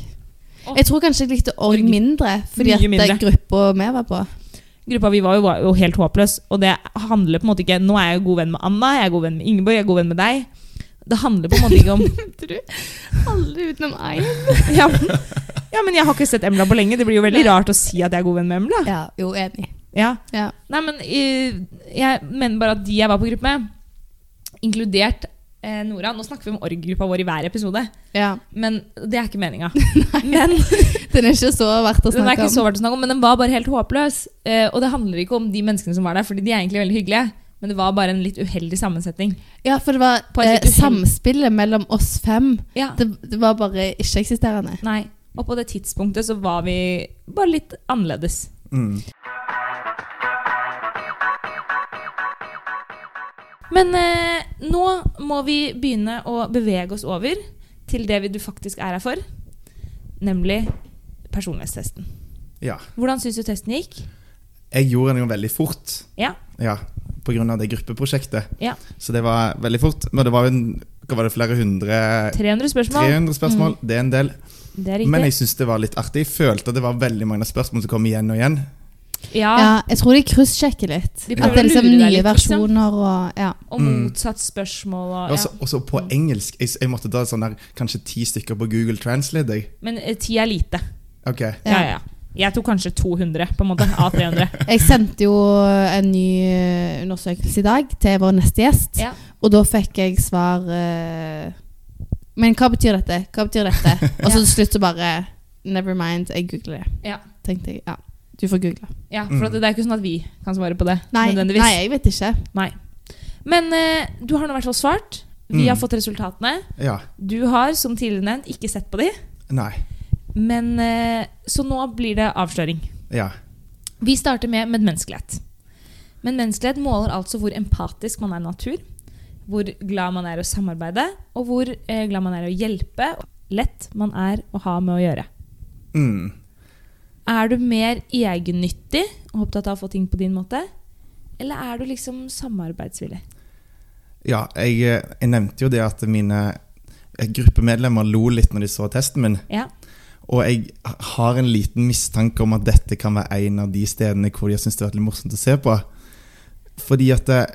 Åh.
Jeg tror kanskje jeg likte org
Org.
mindre, fordi
Mye
at
mindre.
den gruppa vi var på
Gruppa vi var jo, var jo helt håpløs, og det handler på en måte ikke Nå er jeg god venn med Anna, jeg er god venn med Ingeborg, jeg er god venn med deg. Det handler på en måte ikke om
Alle utenom én.
ja, men- ja, men jeg har ikke sett Emla på lenge. Det blir jo veldig rart å si at jeg er god venn med Emla.
Ja, jo, enig.
Ja.
Ja.
Nei, men eh, jeg mener bare at de jeg var på gruppe med, inkludert eh, Nora Nå snakker vi om org-gruppa vår i hver episode,
ja.
men det er ikke meninga. Men
Den er ikke så verdt å
den er
snakke
ikke så
om.
verdt å snakke om, men den var bare helt håpløs. Eh, og det handler ikke om de menneskene som var der, Fordi de er egentlig veldig hyggelige. Men det var bare en litt uheldig sammensetning.
Ja, for det var
På en
eh,
litt uheldig-
samspillet mellom oss fem.
Ja,
Det, det var bare ikke-eksisterende.
nei Og på det tidspunktet så var vi bare litt annerledes.
Mm.
Men eh, nå må vi begynne å bevege oss over til det vi du faktisk er her for, nemlig personlighetstesten.
Ja.
Hvordan syns du testen gikk?
Jeg gjorde den jo veldig fort.
Ja.
Ja, på grunn av det gruppeprosjektet.
Ja.
Så det var veldig fort. Men det var jo en, hva var det, flere hundre
300 spørsmål.
300 spørsmål. Det er en del.
Det er
Men
riktig.
jeg syns det var litt artig. Jeg følte at det var veldig mange spørsmål som kom igjen og igjen.
Ja,
Ja, jeg tror de kryssjekker litt.
De prøver
At det
å
er liksom
lure deg
nye
litt, liksom.
versjoner og ja.
Og motsatt spørsmål og ja.
Og
Mm.
så- Og så på engelsk. Jeg, jeg måtte ta sånn der, kanskje ti stykker på Google Translate. Jeg.
Men eh, ti er lite.
Ok,
Ja, ja. Jeg tok kanskje 200 på en måte, av 300.
Jeg sendte jo en ny eh, undersøkelse i dag til vår neste gjest,
Ja.
og da fikk jeg svar eh, Men hva betyr dette? Hå betyr dette? Og så til slutt så bare Never mind, jeg googler det.
Ja.
Tenkte jeg, ja, Du får google.
Ja, for at det er ikke sånn at vi kan svare på det.
Nei,
nødvendigvis.
nei jeg vet ikke.
Men eh, du har nå i hvert fall svart. Vi
Mm.
har fått resultatene.
ja.
Du har, som tidligere nevnt, ikke sett på de.
Nei.
Men, eh, så nå blir det avsløring.
Ja.
Vi starter med medmenneskelighet. Medmenneskelighet måler altså hvor empatisk man er i natur, hvor glad man er i å samarbeide, og hvor eh, glad man er i å hjelpe, og lett man er å ha med å gjøre.
Mm.
Er du mer egennyttig og opptatt av å få ting på din måte, eller er du liksom samarbeidsvillig?
Ja, jeg, eh, jeg nevnte jo det at mine eh, gruppemedlemmer lo litt når de så testen min.
Ja.
Og jeg har en liten mistanke om at dette kan være en av de stedene hvor de har syntes det har vært litt morsomt å se på. Fordi at eh,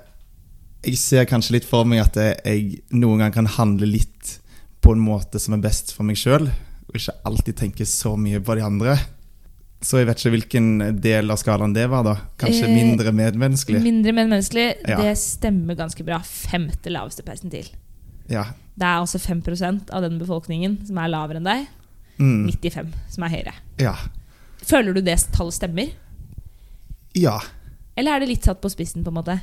jeg ser kanskje litt for meg at eh, jeg noen gang kan handle litt på en måte som er best for meg sjøl, og ikke alltid tenke så mye på de andre. Så jeg vet ikke hvilken del av skalaen det var, da. Kanskje
Eh,
mindre medmenneskelig.
Mindre medmenneskelig,
Ja.
det stemmer ganske bra. Femte laveste persentil.
Ja.
Det er altså 5 av den befolkningen som er lavere enn deg.
Mm.
95 som er høyere.
ja.
Føler du det tallet stemmer?
Ja.
Eller er det litt satt på spissen, på en måte?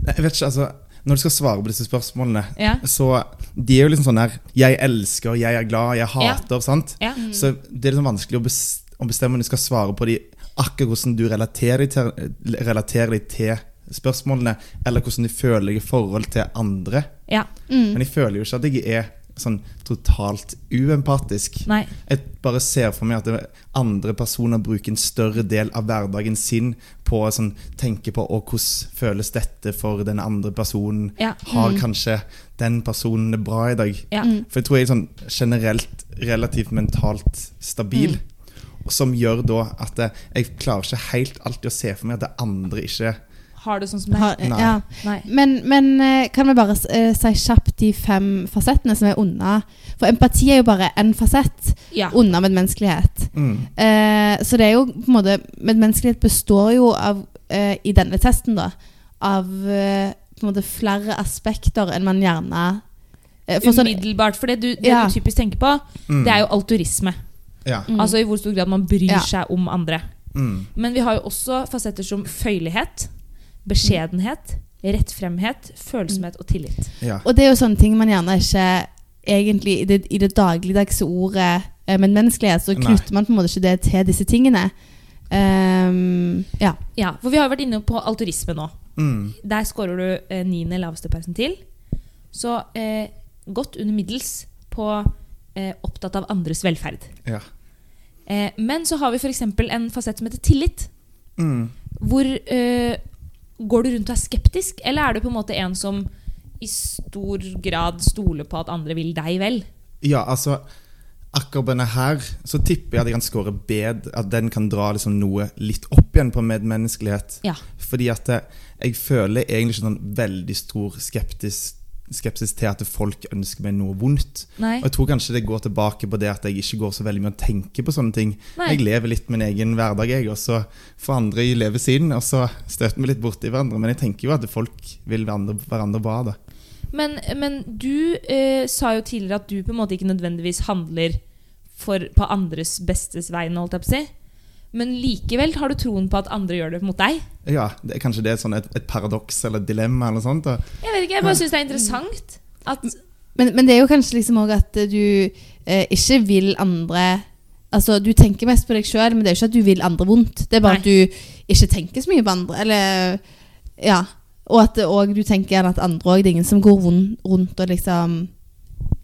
Nei, jeg vet ikke, altså Når du skal svare på disse spørsmålene,
Ja.
så de er jo liksom sånn her Jeg elsker, jeg er glad, jeg hater, sant?
Ja.
Mm.
Så det er liksom vanskelig å bes- å bestemme om du skal svare på de akkurat hvordan du relaterer deg til, relaterer deg til spørsmålene, eller hvordan du føler deg i forhold til andre.
ja.
Mm.
Men jeg føler jo ikke at jeg er sånn totalt uempatisk.
Nei.
Jeg bare ser for meg at det- andre personer bruker en større del av hverdagen sin på å sånn, tenke på «Å, hvordan føles dette for den andre personen.
Ja.
Har
Mm.
kanskje den personen det bra i dag?
Ja.
Mm.
For jeg tror jeg er sånn generelt relativt mentalt stabil.
Mm.
Som gjør da at eh, jeg klarer ikke helt alltid å se for meg at det andre ikke
Har du sånn som deg?
Har,
Nei.
ja.
Nei.
Men, men eh, kan vi bare eh, si kjapt de fem fasettene som er unna? For empati er jo bare én fasett
Ja.
unna medmenneskelighet.
mm,
Eh, så det er jo på en måte Medmenneskelighet består jo av, eh, i denne testen, da, av eh, på en måte flere aspekter enn man gjerne eh, for sånn,
Umiddelbart. For det du, det
Ja.
du typisk tenker på,
mm,
det er jo alturisme.
ja,
Mm.
Altså i hvor stor grad man bryr
Ja.
seg om andre.
mm,
Men vi har jo også fasetter som føyelighet, beskjedenhet, rettfremhet, følsomhet og tillit.
ja.
Og det er jo sånne ting man gjerne ikke egentlig i det, i det dagligdagse ordet eh, medmenneskelighet, så
Nei.
knytter man på en måte ikke det til disse tingene. Ehm, ja.
Ja, For vi har jo vært inne på alturisme nå.
Mm,
Der scorer du eh, niende laveste persentil. Så eh, godt under middels på eh, opptatt av andres velferd.
Ja.
Eh, men så har vi f.eks. en fasett som heter tillit.
Mm.
Hvor eh, Går du rundt og er skeptisk, eller er du på en måte en som i stor grad stoler på at andre vil deg vel?
Ja, altså Akkurat denne her så tipper jeg at jeg kan score bed At den kan dra liksom noe litt opp igjen på medmenneskelighet.
Ja.
Fordi at eh, jeg føler egentlig ikke sånn veldig stor skeptis, skepsis til at folk ønsker meg noe vondt.
Nei.
Og jeg tror kanskje det går tilbake på det at jeg ikke går så veldig mye og tenker på sånne ting.
Nei.
Jeg lever litt min egen hverdag, jeg, og så får andre leve sin. Og så støter vi litt borti hverandre. Men jeg tenker jo at folk vil hverandre, hverandre bra, da.
Men, men du eh, sa jo tidligere at du på en måte ikke nødvendigvis handler for, på andres bestes vegne, holdt jeg på å si. Men likevel har du troen på at andre gjør det mot deg?
Ja, det, Kanskje det er sånn et, et paradoks eller et dilemma eller noe sånt. da.
Jeg vet ikke, jeg bare syns det er interessant. At,
Men, men det er jo kanskje liksom òg at du eh, ikke vil andre Altså, Du tenker mest på deg sjøl, men det er jo ikke at du vil andre vondt. Det er bare
Nei.
at du ikke tenker så mye på andre. Eller, ja. Og at det også, du tenker gjerne at andre òg Det er ingen som går rund- rundt og liksom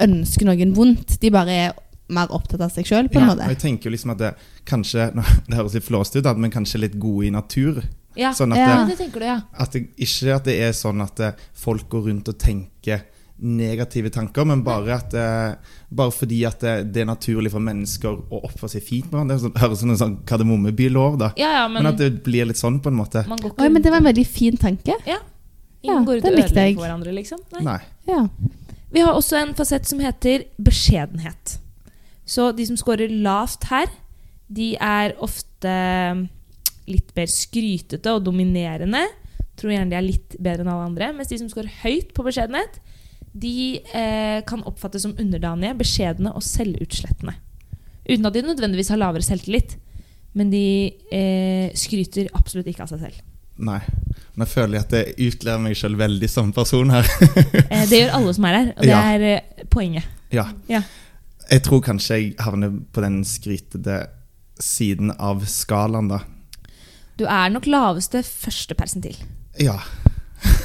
ønsker noen vondt. De bare er mer opptatt av seg sjøl, på en
Ja, og
måte.
jeg tenker jo liksom at det, kanskje, nå, det høres litt flåsete ut, da, men kanskje litt gode i natur.
ja.
Sånn at,
Ja.
ja,
det,
det tenker du, ja.
at det, Ikke at det er sånn at eh, folk går rundt og tenker negative tanker, men bare, at, eh, bare fordi at det, det er naturlig for mennesker å oppføre seg fint med hverandre. Det høres ut som en sånn kardemommebylov, da.
Ja, ja, men,
Men at det blir litt sånn, på en måte.
man går ikke
Oi, men
rundt-
det var en veldig fin tanke.
Ingen
ja,
går ut
den
og
likte
ødelegger
jeg.
for hverandre, liksom. Nei.
Nei.
Ja.
Vi har også en fasett som heter beskjedenhet. Så de som scorer lavt her, de er ofte litt mer skrytete og dominerende. Tror gjerne de er litt bedre enn alle andre. Mens de som scorer høyt på beskjedenhet, de eh, kan oppfattes som underdanige, beskjedne og selvutslettende. Uten at de nødvendigvis har lavere selvtillit. Men de eh, skryter absolutt ikke av seg selv.
Nei. Nå føler jeg at jeg utlever meg sjøl veldig som person her.
Eh, det gjør alle som er her, og det
Ja.
er eh, poenget.
Ja.
Ja.
Jeg tror kanskje jeg havner på den skrytete siden av skalaen, da.
Du er nok laveste første persentil.
Ja.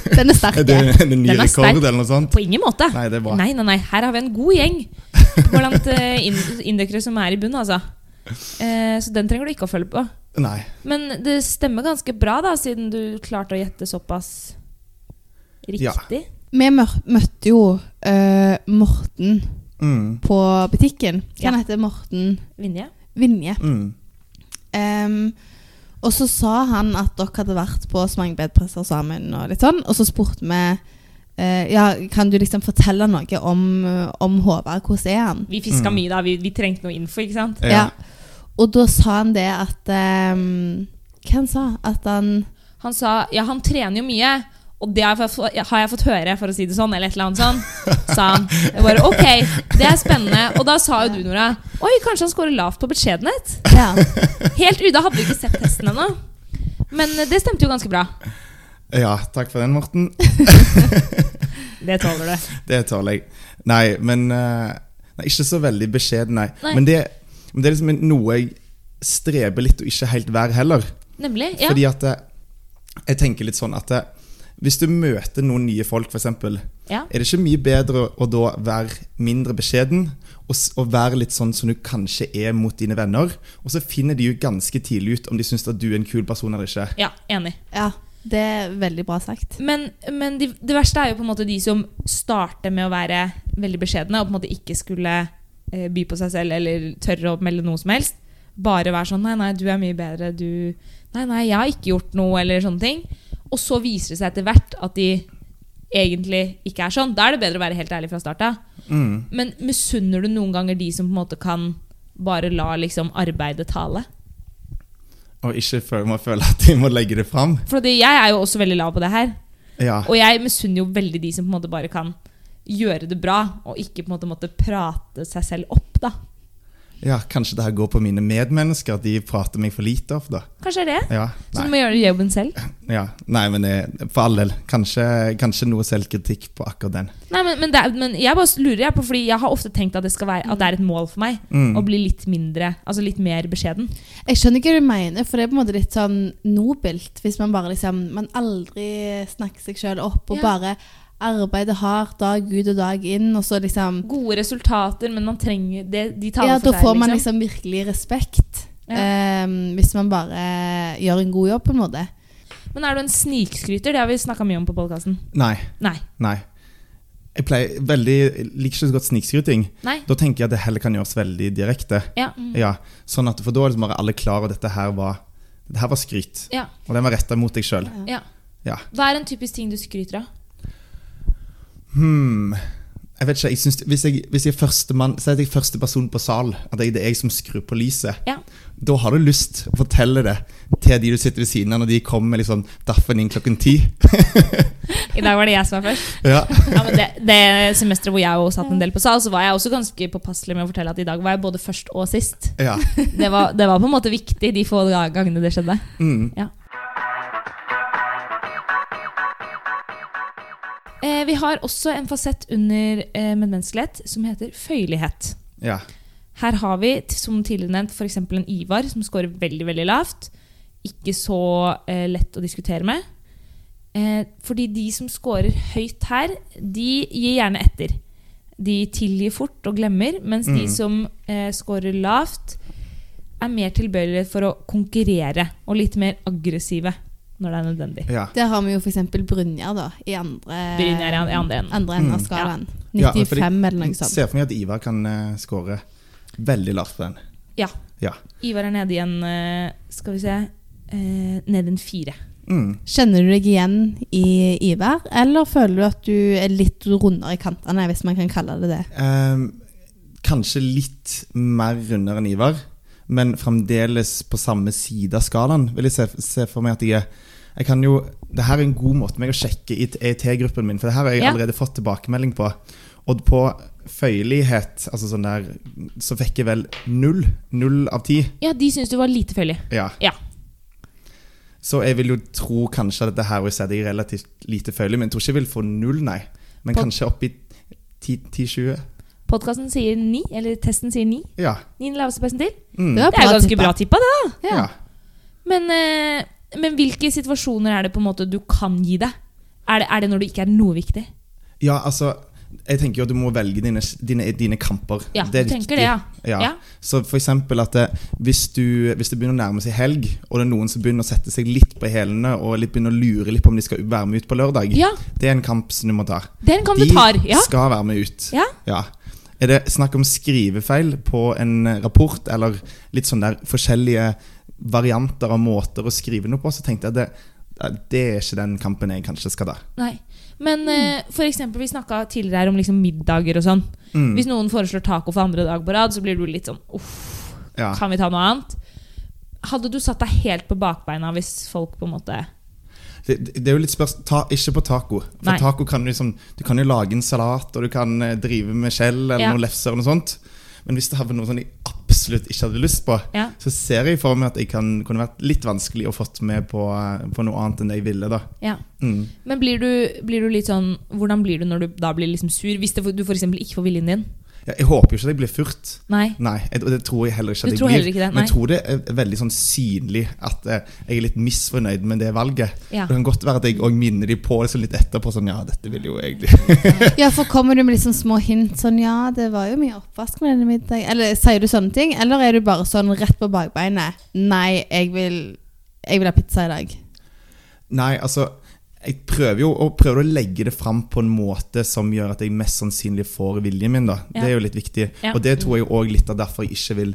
Den er sterk.
Er det er det en ny
Den er
rekord
sterk.
eller noe sånt?
På ingen måte.
Nei, det er bra.
Nei, nei, nei, her har vi en god gjeng blant eh, ind- indøkere som er i bunnen, altså. Eh, så den trenger du ikke å følge på.
Nei.
Men det stemmer ganske bra, da, siden du klarte å gjette såpass
Ja.
riktig.
Vi mør- møtte jo eh, Morten
Mm.
på butikken.
Ja.
Han heter Morten
Vinje.
Vinje.
Mm.
Ehm, og så sa han at dere hadde vært på så mange bedpresser sammen, og litt sånn. Og så spurte vi eh, ja, kan du liksom fortelle noe om, eh, om Håvard. Hvordan er han?
Vi fiska
Mm.
mye, da. Vi, vi trengte noe info, ikke sant?
Ja.
Og da sa han det at ehm, Hva han sa At han
Han sa ja, han trener jo mye, og det har jeg, fått, har jeg fått høre, for å si det sånn, eller et eller annet sånn. Sa han. Jeg bare ok, det er spennende. Og da sa jo du, Nora, oi, kanskje han scorer lavt på beskjedenhet?
Ja.
Helt uda hadde vi ikke sett testen ennå. Men eh, det stemte jo ganske bra.
ja. Takk for den, Morten.
Det tåler du.
Det tåler jeg. Nei, men eh, nei, Ikke så veldig beskjeden, nei.
Nei.
Men, det, men det er liksom noe jeg streber litt å ikke helt være heller.
Nemlig. Ja.
Fordi at eh, Jeg tenker litt sånn at eh, hvis du møter noen nye folk, f.eks.
ja.
Er det ikke mye bedre å da være mindre beskjeden og, s- og være litt sånn som du kanskje er mot dine venner? Og så finner de jo ganske tidlig ut om de syns at du er en kul person eller ikke.
ja, enig.
ja. Det er veldig bra sagt.
Men, men de, det verste er jo på en måte de som starter med å være veldig beskjedne og på en måte ikke skulle eh, by på seg selv eller tørre å melde noe som helst. Bare være sånn 'nei, nei, du er mye bedre', du 'nei, nei, jeg har ikke gjort noe', eller sånne ting. Og så viser det seg etter hvert at de egentlig ikke er sånn. Da er det bedre å være helt ærlig fra start av.
Mm.
Men misunner du noen ganger de som på en måte kan bare la liksom arbeidet tale?
Og ikke føle, må føle at de må legge det fram.
Fordi jeg er jo også veldig lav på det her.
Ja.
Og jeg misunner jo veldig de som på en måte bare kan gjøre det bra, og ikke på en måte måtte prate seg selv opp, da.
ja, kanskje det her går på mine medmennesker, at de prater meg for lite ofte.
Kanskje det er det.
Ja.
Så du
Nei.
må gjøre jobben selv.
ja. Nei, men jeg, for all del. Kanskje, kanskje noe selvkritikk på akkurat den.
Nei, men, men, det er, men jeg bare lurer jeg på, fordi jeg har ofte tenkt at det, skal være, at det er et mål for meg
Mm.
å bli litt mindre, altså litt mer beskjeden.
Jeg skjønner ikke hva du mener, for det er på en måte litt sånn nobelt hvis man bare liksom Man aldri snakker seg sjøl opp og
Ja.
bare arbeider hardt dag ut og dag inn, og så liksom
Gode resultater, men man trenger det, De taler
Ja,
for
da
seg,
får man liksom virkelig respekt.
Ja.
eh, hvis man bare gjør en god jobb, på en måte. liksom-
Men er du en snikskryter? Det har vi snakka mye om på podkasten.
Nei.
Nei.
Nei. Jeg pleier veldig, jeg liker ikke så godt snikskryting.
Nei.
Da tenker jeg at det heller kan gjøres veldig direkte.
Ja. Mm.
Ja, sånn at For da er liksom bare alle klar over at dette her var, dette her var skryt.
Ja.
Og den var retta mot deg sjøl.
ja.
Ja.
Hva er en typisk ting du skryter av?
Hmm. Jeg vet ikke, jeg synes, hvis, jeg, hvis jeg er førstemann Si at jeg er første person på sal, at jeg, det er jeg som skrur på lyset.
Ja.
Da har du lyst å fortelle det til de du sitter ved siden av, når de kommer med liksom, daffen inn klokken ti.
I dag var det jeg som var først.
Ja.
Ja, men det, det semesteret hvor jeg også satt en del på sal, så var jeg også ganske påpasselig med å fortelle at i dag var jeg både først og sist.
ja.
Det var, det var på en måte viktig de få ga- gangene det skjedde.
Mm.
Eh, vi har også en fasett under eh, medmenneskelighet som heter føyelighet.
ja.
Her har vi, t- som tidligere nevnt, f.eks. en Ivar som scorer veldig veldig lavt. Ikke så eh, lett å diskutere med. Eh, fordi de som scorer høyt her, de gir gjerne etter. De tilgir fort og glemmer, mens de
Mm.
som eh, scorer lavt, er mer tilbøyelige for å konkurrere og litt mer aggressive når det er nødvendig.
ja.
Der har vi jo f.eks. Brynjar, da, i andre
Brynjar i an- i andre enden.
enden av
Mm.
skalaen.
Ja, fordi-
95 eller noe
Jeg
sånt.
ser for meg at Ivar kan uh, score veldig lavt på den.
Ja.
Ja.
Ivar er nede i en eh, Skal vi se eh, Nede i en fire.
Mm.
Kjenner du deg igjen i Ivar, eller føler du at du er litt rundere i kantene, hvis man kan kalle det det?
Ehm, kanskje litt mer rundere enn Ivar, men fremdeles på samme side av skalaen. Vil jeg se, se for meg at jeg er jeg kan jo, det her er en god måte meg å sjekke i ET-gruppen min, for det her har jeg
Ja.
allerede fått tilbakemelding på. Og på føyelighet, altså sånn der, så fikk jeg vel null. Null av ti.
Ja, de syns du var lite føyelig.
Ja.
Ja.
Så jeg vil jo tro kanskje at det her vil si at jeg er relativt lite føyelig, men jeg tror ikke jeg vil få null, nei. Men
På-
kanskje opp i 10-20.
Podkasten sier ni, eller testen sier ni.
Ja.
Niende laveste persentil.
Mm.
Det
Det er jo ganske
tippa.
bra tippa, det. da.
Ja.
ja.
Men, eh, men hvilke situasjoner er det på en måte du kan gi deg? Er det, er det når du ikke er noe viktig?
Ja, altså jeg tenker jo at du må velge dine, dine, dine kamper.
Ja, du tenker det, ja.
Ja.
Ja.
Så for eksempel at eh, hvis, du, hvis det begynner å nærme seg helg, og det er noen som begynner å sette seg litt på hælene og litt begynner å lure litt på om de skal være med ut på lørdag,
Ja,
det er en kamp som du må ta.
den kan
De
du tar. Ja.
skal være med ut.
Ja.
Er det snakk om skrivefeil på en eh, rapport, eller litt sånn der forskjellige varianter av måter å skrive noe på, så tenkte jeg at det, det er ikke den kampen jeg kanskje skal ta.
Nei. Men eh, for eksempel, vi snakka tidligere her om liksom middager og sånn.
Mm,
Hvis noen foreslår taco for andre dag på rad, så blir du litt sånn uff,
ja.
kan vi ta noe annet? Hadde du satt deg helt på bakbeina hvis folk på en måte
Det, det det er jo litt spørsmål ta, Ikke på taco. For
Nei.
taco kan du liksom Du kan jo lage en salat, og du kan eh, drive med skjell eller
Ja.
noen lefser og noe sånt. Men hvis det hadde vært noe sånn jeg absolutt ikke hadde lyst på,
Ja.
så ser jeg for meg at jeg kan, kunne vært litt vanskelig å fått med på, eh, på noe annet enn det jeg ville, da.
ja.
Mm.
Men blir du, blir du litt sånn Hvordan blir du når du da blir liksom sur? Hvis det, du f.eks. ikke får viljen din?
Ja, jeg håper jo ikke at jeg blir furt.
Nei.
Nei, jeg, og det tror jeg heller
Du
ikke at jeg
tror
blir.
heller ikke det,
Men jeg
nei.
tror det er veldig sånn synlig at eh, jeg er litt misfornøyd med det valget.
Ja.
Det kan godt være at jeg òg minner de på det sånn litt etterpå. Sånn, ja, dette ville jo egentlig
Ja, for kommer du med litt sånn små hint sånn Ja, det var jo mye oppvask med denne middagen. Eller sier du sånne ting? Eller er du bare sånn rett på bakbeinet? Nei, jeg vil, jeg vil ha pizza i dag.
Nei, altså jeg prøver jo og prøver å legge det fram på en måte som gjør at jeg mest sannsynlig får viljen min. da.
Ja.
Det er jo litt viktig.
Ja.
Og det tror jeg òg litt av derfor jeg ikke vil,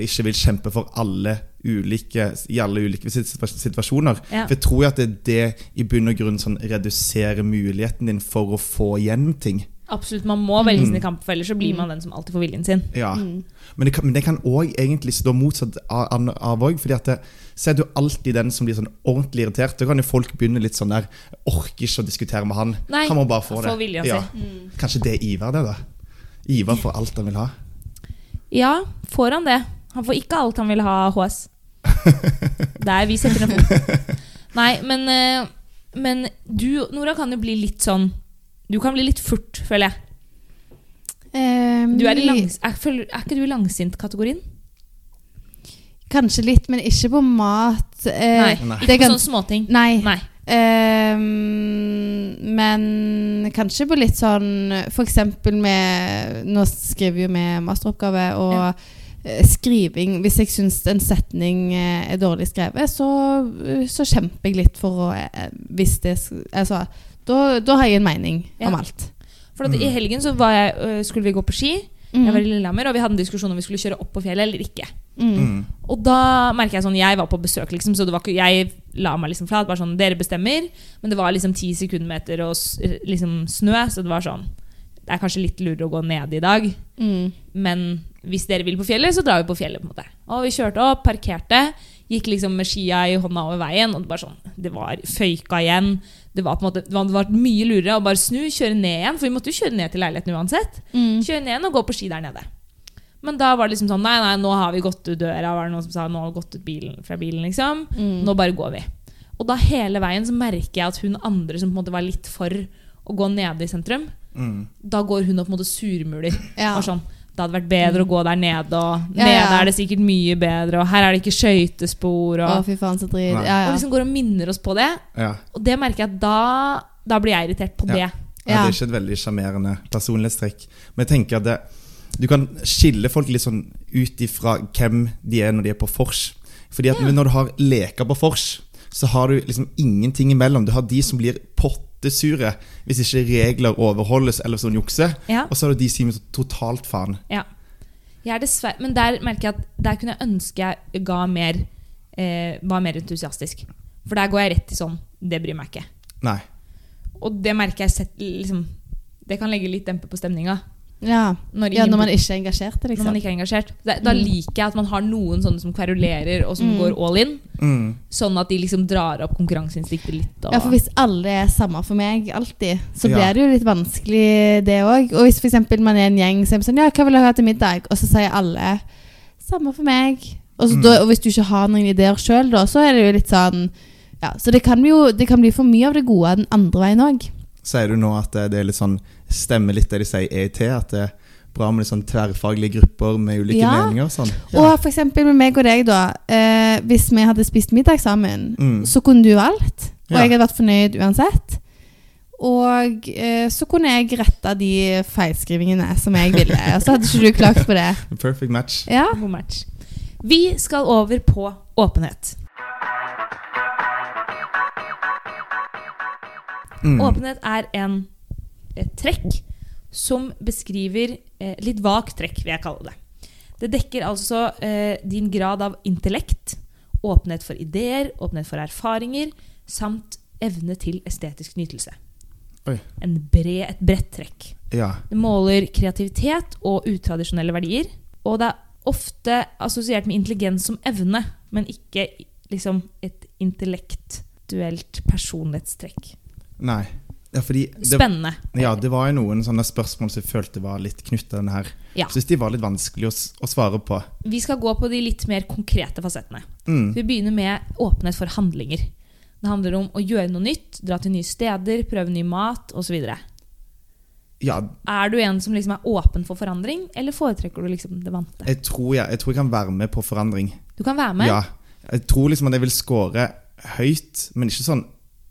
ikke vil kjempe for alle ulike, i alle ulike situ- situasjoner.
Ja.
For jeg tror jo at det er det i bunn og grunn sånn, reduserer muligheten din for å få igjen ting.
Absolutt, man må velge
Mm.
sine kamper, for ellers så blir man den som alltid får viljen sin.
Ja.
Mm.
Men det kan, men det kan også egentlig stå motsatt av- an- av òg. fordi at det- så er du alltid den som blir sånn ordentlig irritert. Da kan jo folk begynne litt sånn der Orker ikke å diskutere med han.
Nei,
han må bare få
han
det.
får viljen
ja.
Mm.
Kanskje det er Ivar, det, da. Ivar får alt han vil ha.
Ja, får han det? Han får ikke alt han vil ha av HS. Der vi setter ned foten. Nei, men, eh, men du, Nora, kan jo bli litt sånn Du kan bli litt furt, føler jeg.
Ehm,
Du er, i langs, er, føler, er ikke du i langsint-kategorien?
Kanskje litt, men ikke på mat. Eh,
Nei.
Nei.
Ikke
det
på
kan-
sånne småting.
Nei.
Nei.
Eh, Ehm, men kanskje på litt sånn For eksempel med Nå skriver jo vi masteroppgave, og
Ja.
eh, skriving Hvis jeg syns en setning eh, er dårlig skrevet, så, eh, så kjemper jeg litt for å eh, Hvis det Altså, da, da har jeg en mening
Ja.
om alt.
For at
Mm.
i helgen så var jeg, øh, skulle vi gå på ski. Jeg
Mhm.
var i Lillehammer, og vi hadde en diskusjon om vi skulle kjøre opp på fjellet eller ikke.
Mm.
Mm.
Og da merker jeg sånn Jeg var på besøk, liksom, så det var ikke, jeg la meg liksom flat. Bare sånn Dere bestemmer. Men det var liksom ti sekundmeter og s- liksom snø, så det var sånn Det er kanskje litt lurere å gå ned i dag,
Mm.
men hvis dere vil på fjellet, så drar vi på fjellet. på en måte Og vi kjørte opp, parkerte, gikk liksom med skia i hånda over veien. Og det bare sånn Det var føyka igjen. Det var på en måte Det var, det var mye lurere å bare snu, kjøre ned igjen, for vi måtte jo kjøre ned til leiligheten uansett.
Mm.
Kjøre ned igjen og gå på ski der nede. Men da var det liksom sånn Nei, nei, nå har vi gått ut døra. Var det noen som sa Nå har vi gått ut bilen, fra bilen, liksom.
Mm.
Nå bare går vi. Og da hele veien så merker jeg at hun andre som på en måte var litt for å gå nede i sentrum,
Mm.
da går hun og på en måte surmuler.
Ja. Mm.
Og sånn, det hadde vært bedre å gå der nede, og
Ja,
nede
ja.
er det sikkert mye bedre, og her er det ikke skøytespor,
Å,
og,
fy faen, så drit.
Nei.
Ja,
og
ja.
liksom går og minner oss på det.
Ja.
Og det merker jeg at da, da blir jeg irritert på det.
Ja. Ja,
Ja.
Det er ikke et veldig sjarmerende personlighetstrekk. Men jeg tenker at det, du kan skille folk litt sånn ut ifra hvem de er når de er på vors. Fordi at
Ja.
når du har leker på vors, så har du liksom ingenting imellom. Du har de som blir pottesure hvis ikke regler overholdes, eller hvis noen jukser.
Ja.
Og så har du de som gir totalt faen.
Jeg er dessverre, men der merker jeg at der kunne jeg ønske jeg ga mer, eh, var mer entusiastisk. For der går jeg rett i sånn Det bryr meg ikke.
Nei.
Og det merker jeg sett, liksom, Det kan legge litt dempe på stemninga.
Ja.
Når,
ja,
ingen-
når man ikke er engasjert,
når man
liksom.
ikke er engasjert. Da, da
Mm.
liker jeg at man har noen sånne som kverulerer og som
Mm.
går all in.
Mm.
Sånn at de liksom drar opp konkurranseinstinktet litt. Og,
Ja, for hvis alle er samme for meg alltid, så blir
Ja.
det jo litt vanskelig det òg. Og hvis for eksempel man er en gjeng som er sånn Ja, hva vil jeg ha til middag? Og så sier alle samme for meg. Og, så
Mm.
da, og hvis du ikke har noen ideer sjøl, da, så er det jo litt sånn ja, Så det kan, jo, det kan bli for mye av det gode den andre veien òg.
Sier du nå at det- det er litt sånn stemmer litt det de sier i EIT, at det er bra med litt sånn tverrfaglige grupper med ulike
Ja.
meninger og sånn?
Og for eksempel med meg og deg, da. Eh, hvis vi hadde spist middag sammen,
Mm.
så kunne du valgt. Og
Ja.
jeg hadde vært fornøyd uansett. Og eh, så kunne jeg retta de feilskrivingene som jeg ville. Og så hadde ikke du klagt på det.
Perfect match.
Ja.
God match. Vi skal over på åpenhet.
Mm.
Åpenhet er en et trekk som beskriver eh, Litt vagt trekk, vil jeg kalle det. Det dekker altså eh, din grad av intellekt, åpenhet for ideer, åpenhet for erfaringer, samt evne til estetisk nytelse.
Oi.
En bred, et bredt trekk.
Ja.
Det måler kreativitet og utradisjonelle verdier. Og det er ofte assosiert med intelligens som evne, men ikke i- liksom et intellektuelt personlighetstrekk.
Nei. Ja, fordi det,
Spennende.
ja, det var jo noen sånne spørsmål som jeg følte var litt knyttet til den her.
Ja.
Syns de var litt vanskelig å, s- å svare på.
Vi skal gå på de litt mer konkrete fasettene.
Mm.
Vi begynner med åpenhet for handlinger. Det handler om å gjøre noe nytt, dra til nye steder, prøve ny mat osv.
Ja,
Er du en som liksom er åpen for forandring, eller foretrekker du liksom det vante?
jeg tror jeg, jeg tror jeg kan være med på forandring.
Du kan være med.
Eh, Ja. Jeg tror liksom at jeg vil score høyt, men ikke sånn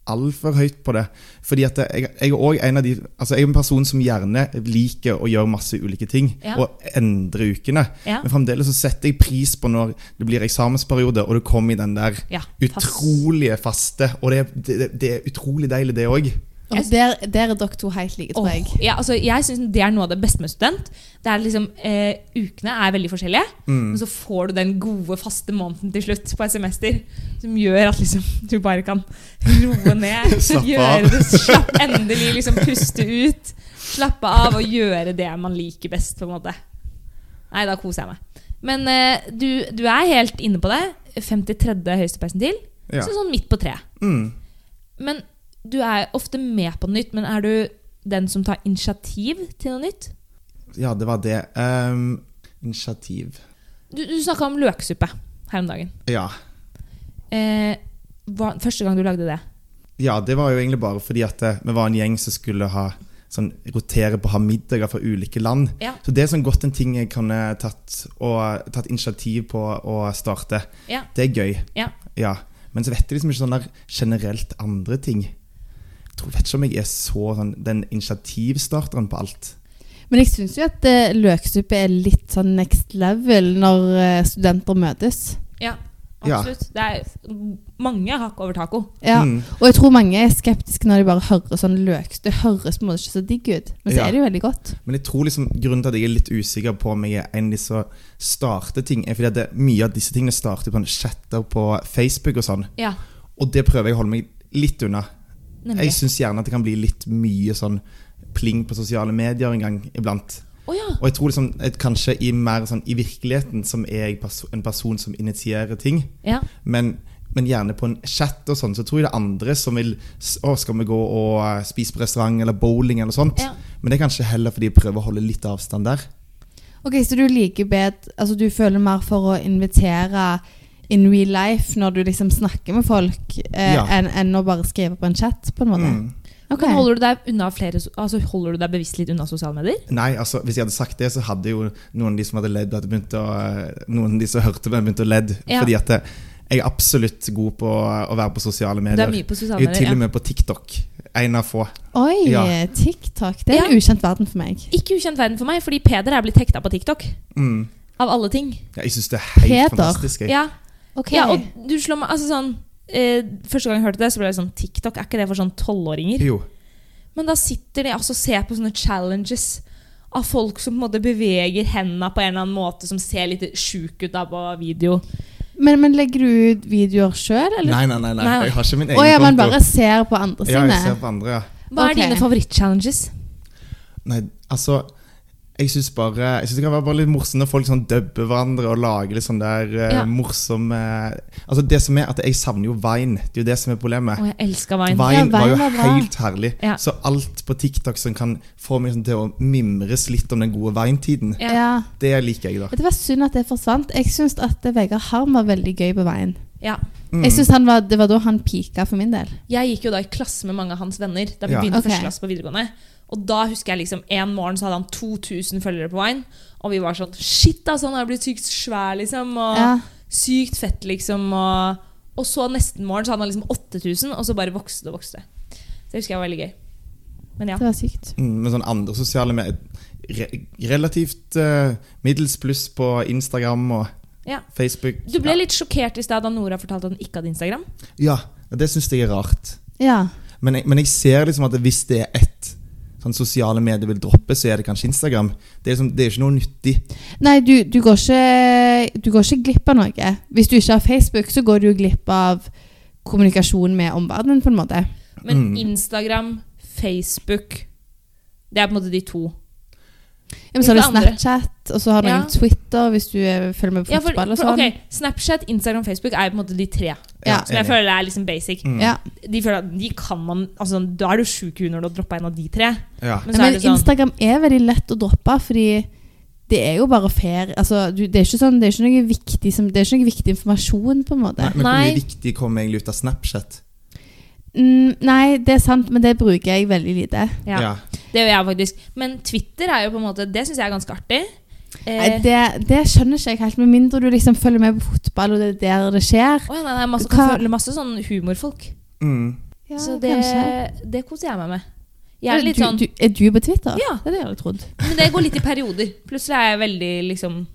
altfor høyt på det. Fordi at jeg, jeg er også en av de Altså jeg er en person som gjerne liker å gjøre masse ulike ting,
Ja.
og endre ukene.
Ja.
Men fremdeles så setter jeg pris på når det blir eksamensperiode, og du kommer i den der
Ja, fast.
utrolige faste. Og det, det, det er utrolig deilig, det òg.
Og der, der er dere to helt like, tror jeg.
Åh, ja, altså, jeg syns det er noe av det beste med student. Det er liksom, eh, ukene er veldig forskjellige,
Mm.
men så får du den gode, faste måneden til slutt på et semester som gjør at liksom, du bare kan roe ned.
Slappe
gjøre
av.
det slapp, Endelig liksom puste ut. Slappe av og gjøre det man liker best, på en måte. Nei, da koser jeg meg. Men eh, du, du er helt inne på det. 53. høyeste persentil.
Ja.
Så sånn midt på treet.
Mm.
Men du er ofte med på noe nytt, men er du den som tar initiativ til noe nytt?
ja, det var det. Ehm, initiativ.
Du, du snakka om løksuppe her om dagen.
Ja.
Eh, hva, første gang du lagde det?
ja, det var jo egentlig bare fordi at eh, vi var en gjeng som skulle ha sånn, rotere på å ha middager fra ulike land.
Ja.
Så det er sånn godt en ting jeg kan eh, tatt, og, tatt initiativ på å starte.
Ja.
Det er gøy.
Ja.
Ja. Men Men så vet jeg liksom ikke sånn der generelt andre ting. Jeg tror, vet ikke om jeg er så sånn, den initiativstarteren på alt.
Men jeg syns jo at eh, løksuppe er litt sånn next level når eh, studenter møtes.
Ja,
Ja.
absolutt. Det er mange hakk over taco.
Ja.
Mm.
Og jeg tror mange er skeptiske når de bare hører sånn løksuppe. Det høres på en måte ikke så digg ut, men så
Ja.
er det jo veldig godt.
Men jeg tror liksom grunnen til at jeg er litt usikker på om jeg er en av de som starter ting, er fordi at det, mye av disse tingene starter på en chatter på Facebook og sånn.
Ja,
Og det prøver jeg å holde meg litt unna.
nemlig.
Jeg syns gjerne at det kan bli litt mye sånn pling på sosiale medier en gang iblant.
Å ja.
Og jeg tror liksom at kanskje i mer sånn i virkeligheten som er jeg perso en person som initierer ting,
ja.
men, men gjerne på en chat og sånn, så tror jeg det er andre som vil s- Å, skal vi gå og eh, spise på restaurant eller bowling eller sånt?
Ja.
Men det er kanskje heller fordi jeg prøver å holde litt avstand der.
Ok, Så du liker bedre Altså du føler mer for å invitere in real life når du liksom snakker med folk, eh,
Ja.
enn enn å bare skrive på en chat, på en måte?
Mm.
Ok.
Men holder du deg unna flere so- Altså holder du deg bevisst litt unna sosiale medier?
Nei, altså, Hvis jeg hadde sagt det, så hadde jo noen av de som hadde ledd, hadde begynt å, eh, noen av de som hørte meg, begynt å ledd.
Ja.
Fordi at eh, jeg er absolutt god på å være på sosiale
Du
medier.
er mye på sosiale
Jeg er til og
medier.
med på TikTok. En av få.
Oi,
Ja.
TikTok. Det er en ukjent verden for meg.
Ja. Ikke ukjent verden for meg, fordi Peder er blitt hekta på TikTok.
Mm.
Av alle ting.
Ja, jeg syns det er helt
Peder.
fantastisk. Jeg.
Ja,
Ok.
ja og du slår meg Altså sånn eh, Første gang jeg hørte det, så ble jeg sånn TikTok, er ikke det for sånn tolvåringer?
Jo.
Men da sitter de altså og ser på sånne challenges av folk som på en måte beveger hendene på en eller annen måte som ser litt sjuk ut da på video.
men, men legger du ut videoer sjøl, eller?
Nei, nei, nei, nei.
Nei.
Jeg har ikke min egen
Å ja, man
konto.
bare ser på andre
ja,
sine?
jeg ser på andre, ja.
Hva
Ok.
er dine favorittchallenges?
Nei, altså jeg syns bare Jeg synes det kan være bare litt morsomt når folk sånn dubber hverandre og lager litt sånn der eh,
Ja.
morsomme Altså det som er at Jeg savner jo Vine. Det er jo det som er problemet.
Å, jeg elsker Vine.
Vine,
Ja,
var jo
Vine var bra.
helt herlig.
Ja.
Så alt på TikTok som kan få meg sånn til å mimres litt om den gode Vine-tiden,
Ja.
Ja.
det liker jeg, da.
Det var synd at det forsvant. Jeg syns at eh, Vegard Harm var veldig gøy på veien.
Ja.
Mm.
Jeg synes han var, Det var da han pika for min del.
Jeg gikk jo da i klasse med mange av hans venner da vi
Ja.
begynte
Ok.
første klasse på videregående. Og da husker jeg liksom en morgen så hadde han 2000 følgere på Vine. Og vi var sånn Shit, altså, han har blitt sykt svær, liksom. Og
Ja.
sykt fett, liksom. Og, og så nesten morgen så hadde han liksom 8000, og så bare vokste det og vokste. Så det husker jeg var veldig gøy. Men ja.
Det var sykt.
Mm, men sånn andre sosiale med re relativt eh, middels pluss på Instagram og
Ja.
Facebook.
Du ble litt sjokkert i sted da Nora fortalte at hun ikke hadde Instagram.
Ja, og det syns jeg er rart.
Ja.
Men jeg, men jeg ser liksom at hvis det er ett sånn sosiale medier vil droppe, så er det kanskje Instagram. Det er, liksom, det er ikke noe nyttig.
Nei, du, du, går ikke, du går ikke glipp av noe. Hvis du ikke har Facebook, så går du jo glipp av kommunikasjon med omverdenen, på en måte.
Men
Mm.
Instagram, Facebook Det er på en måte de to.
Ja, men så har du
Hvilke andre?
Snapchat, og så har du
Ja.
Twitter hvis du eh, følger med på
Ja, for,
fotball og
for,
sånn.
ok, Snapchat, Instagram, Facebook er på en måte de tre.
Ja,
Som jeg
enig.
føler er liksom basic.
Mm.
Ja.
De føler at de kan man altså, sånn, Da er du sjuk i huet når du har droppa en av de tre.
Ja.
Men
Men,
så er det sånn
Instagram er veldig lett å droppe, fordi det er jo bare fair. Altså, du, det, er ikke sånn, det er ikke noe viktig som, Det er ikke noe viktig informasjon, på en måte.
Nei, men hvor
Nei.
mye viktig kommer egentlig ut av Snapchat?
Mm, nei, det er sant, men det bruker jeg veldig lite.
ja,
Ja.
Det gjør jeg faktisk. Men Twitter er jo på en måte Det syns jeg er ganske artig.
Nei,
Eh,
det, det skjønner ikke jeg helt, med mindre du liksom følger med på fotball, og det er der det skjer.
å ja, nei, det er masse,
Hva-
føler masse sånn humorfolk.
Mm.
Ja,
så det,
kanskje.
det koser jeg meg med. Jeg er litt
du,
sånn
du, er du på Twitter?
Ja.
Det hadde jeg aldri trodd.
Men det går litt i perioder. Plutselig er jeg veldig liksom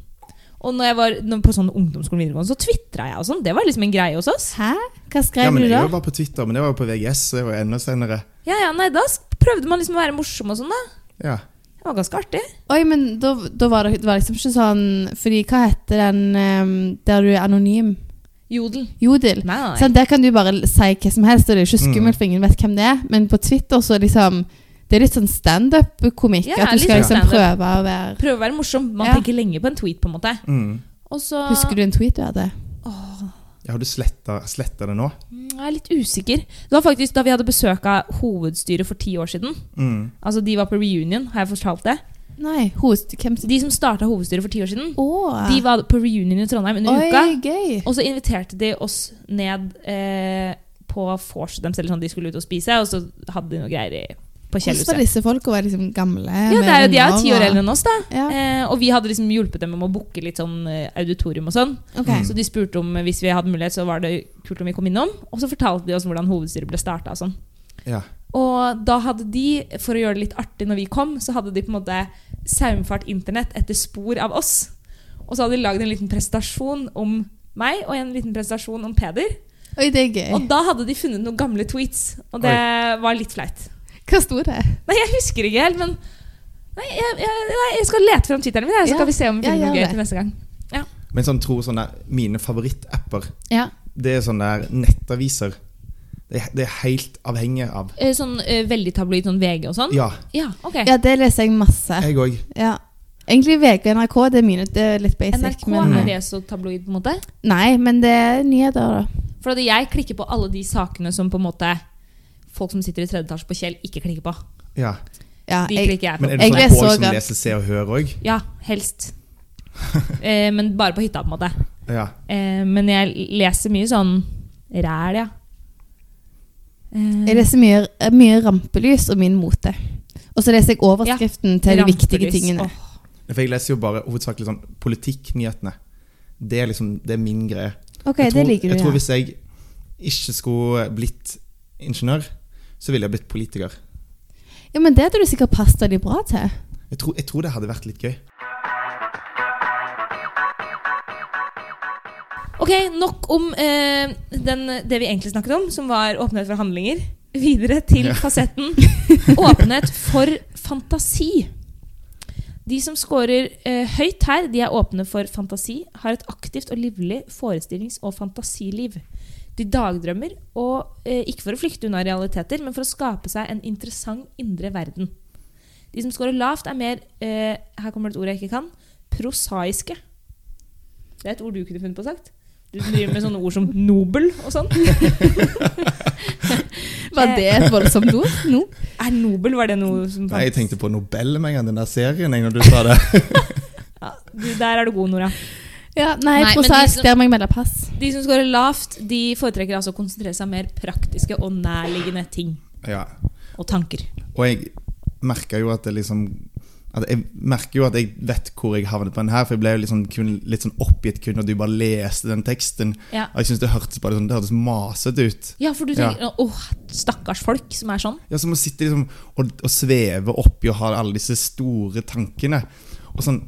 Og når jeg var når, på sånn ungdomsskolen videregående, så tvitra jeg og sånn. Det var liksom en greie hos oss.
Hæ? Hva skrev
ja, men
du da?
jeg var på Twitter, men det var jo på VGS, så det var jo enda senere.
Ja, ja, nei, da sk- prøvde man liksom å være morsom og sånn, da.
Ja.
Det var ganske artig.
Oi, men da, da var det, det var liksom ikke sånn Fordi hva heter den ehm, der du er anonym?
Jodel.
Jodel.
Nei, nei, nei.
Sånn, der kan du bare si hva som helst, og det er ikke skummelt,
Mm.
for ingen vet hvem det er. Men på Twitter så liksom Det er litt sånn standup-komikk.
Ja,
at du
litt
skal
sånn
liksom
stand-up.
prøve å være
Prøve å være morsom. Man
Ja.
tenker lenge på en tweet, på en måte.
Mm.
Og så
Husker du en tweet du hadde?
Ja, Har du sletta sletta det nå?
Mm, Jeg er litt usikker. Det var faktisk da vi hadde besøk av hovedstyret for ti år siden.
Mm.
Altså, de var på reunion, har jeg fortalt det.
Nei, host, hvem
De som starta hovedstyret for ti år siden,
Å!
de var på reunion i Trondheim under
Oi,
uka.
gøy.
Og så inviterte de oss ned eh, på vors. De, sånn, de skulle ut og spise, og så hadde de noe greier i på
Hvordan var
Kjellhuset.
disse folka? Var de liksom gamle?
Ja, det er jo, de er jo ti år eldre enn oss, da.
Ja,
Eh, og vi hadde liksom hjulpet dem med å booke litt sånn eh, auditorium og sånn.
ok.
Mm.
Så de spurte om eh, hvis vi hadde mulighet, så var det kult om vi kom innom. Og så fortalte de oss hvordan hovedstyret ble starta og sånn.
Ja.
Og da hadde de, for å gjøre det litt artig når vi kom, så hadde de på en måte saumfart internett etter spor av oss. Og så hadde de lagd en liten presentasjon om meg og en liten presentasjon om Peder.
Oi, det er gøy.
Og da hadde de funnet noen gamle tweets, og det var litt flaut.
Hva sto det?
Nei, jeg husker ikke helt, men Nei, jeg, jeg, nei, jeg skal lete frem Twitteren min, jeg, så
Ja.
skal vi se om vi
Ja,
finner
gjør
noe gøy
det.
til neste gang.
Men sånn tro sånn der, mine favorittapper,
Ja.
det er sånne der nettaviser. Det er, det er helt avhengig av.
Eh, Sånn eh, veldig tabloid, sånn VG og sånn?
Ja,
Ja, ok.
ja, det leser jeg masse.
jeg òg.
Ja. Egentlig VG og NRK, det er mine. Det er litt basic.
NRK,
men,
er det så tabloid, på en måte?
Nei, men det er nyheter, da.
For at jeg klikker på alle de sakene som på en måte folk som sitter i tredje etasje på Kjell, ikke klikker på.
Ja.
Ja,
De
Ah, jeg,
klikker jeg på.
Men er
Jeg
det sånn
leser
folk
også
som
at-
leser Se og Hør òg?
Ja, helst. eh, men bare på hytta, på en måte.
Ja.
Eh, men jeg leser mye sånn ræl, ja. Eh,
jeg leser mye, mye rampelys og min mote. Og så leser jeg overskriften til de viktige
rampelys.
tingene.
Åh,
For jeg leser jo bare hovedsakelig sånn politikknyhetene. Det er liksom det er min greie.
Ok,
jeg tror,
det liker du,
jeg tror
ja.
hvis jeg ikke skulle blitt ingeniør, så ville jeg blitt politiker.
ja. Men det hadde du sikkert passet deg bra til.
Jeg tror, jeg tror det hadde vært litt gøy.
Ok, nok om eh, den, det vi egentlig snakket om, som var åpenhet for handlinger. Videre til
Ja.
fasetten åpenhet for fantasi. De som scorer eh, høyt her, de er åpne for fantasi, har et aktivt og livlig forestillings- og fantasiliv. De dagdrømmer, og eh, ikke for å flykte unna realiteter, men for å skape seg en interessant indre verden. De som scorer lavt, er mer eh, her kommer det et ord jeg ikke kan prosaiske. Det er et ord du kunne funnet på sagt. Du som driver med sånne ord som nobel og sånn.
Var det et voldsomt ord? No.
Er nobel, var det noe som
Nei, jeg tenkte på Nobel med en gang, den der serien, jeg, når du sa det.
Ja, du, der er du god, Nora.
Ja, nei,
Nei, men de
prosaisk,
som-
der må jeg melde pass.
De som scorer lavt, de foretrekker altså å konsentrere seg om mer praktiske og nærliggende ting
Ja.
og tanker.
Og jeg merker jo at det liksom at jeg merker jo at jeg vet hvor jeg havnet på den her, for jeg ble jo liksom kun, litt sånn oppgitt kun når du bare leste den teksten.
Ja,
Og jeg synes det hørtes bare sånn, det hørtes masete ut.
ja for du tenker åh, stakkars folk som er sånn.
Ja, som å sitte liksom og, og sveve oppi og ha alle disse store tankene. Og sånn,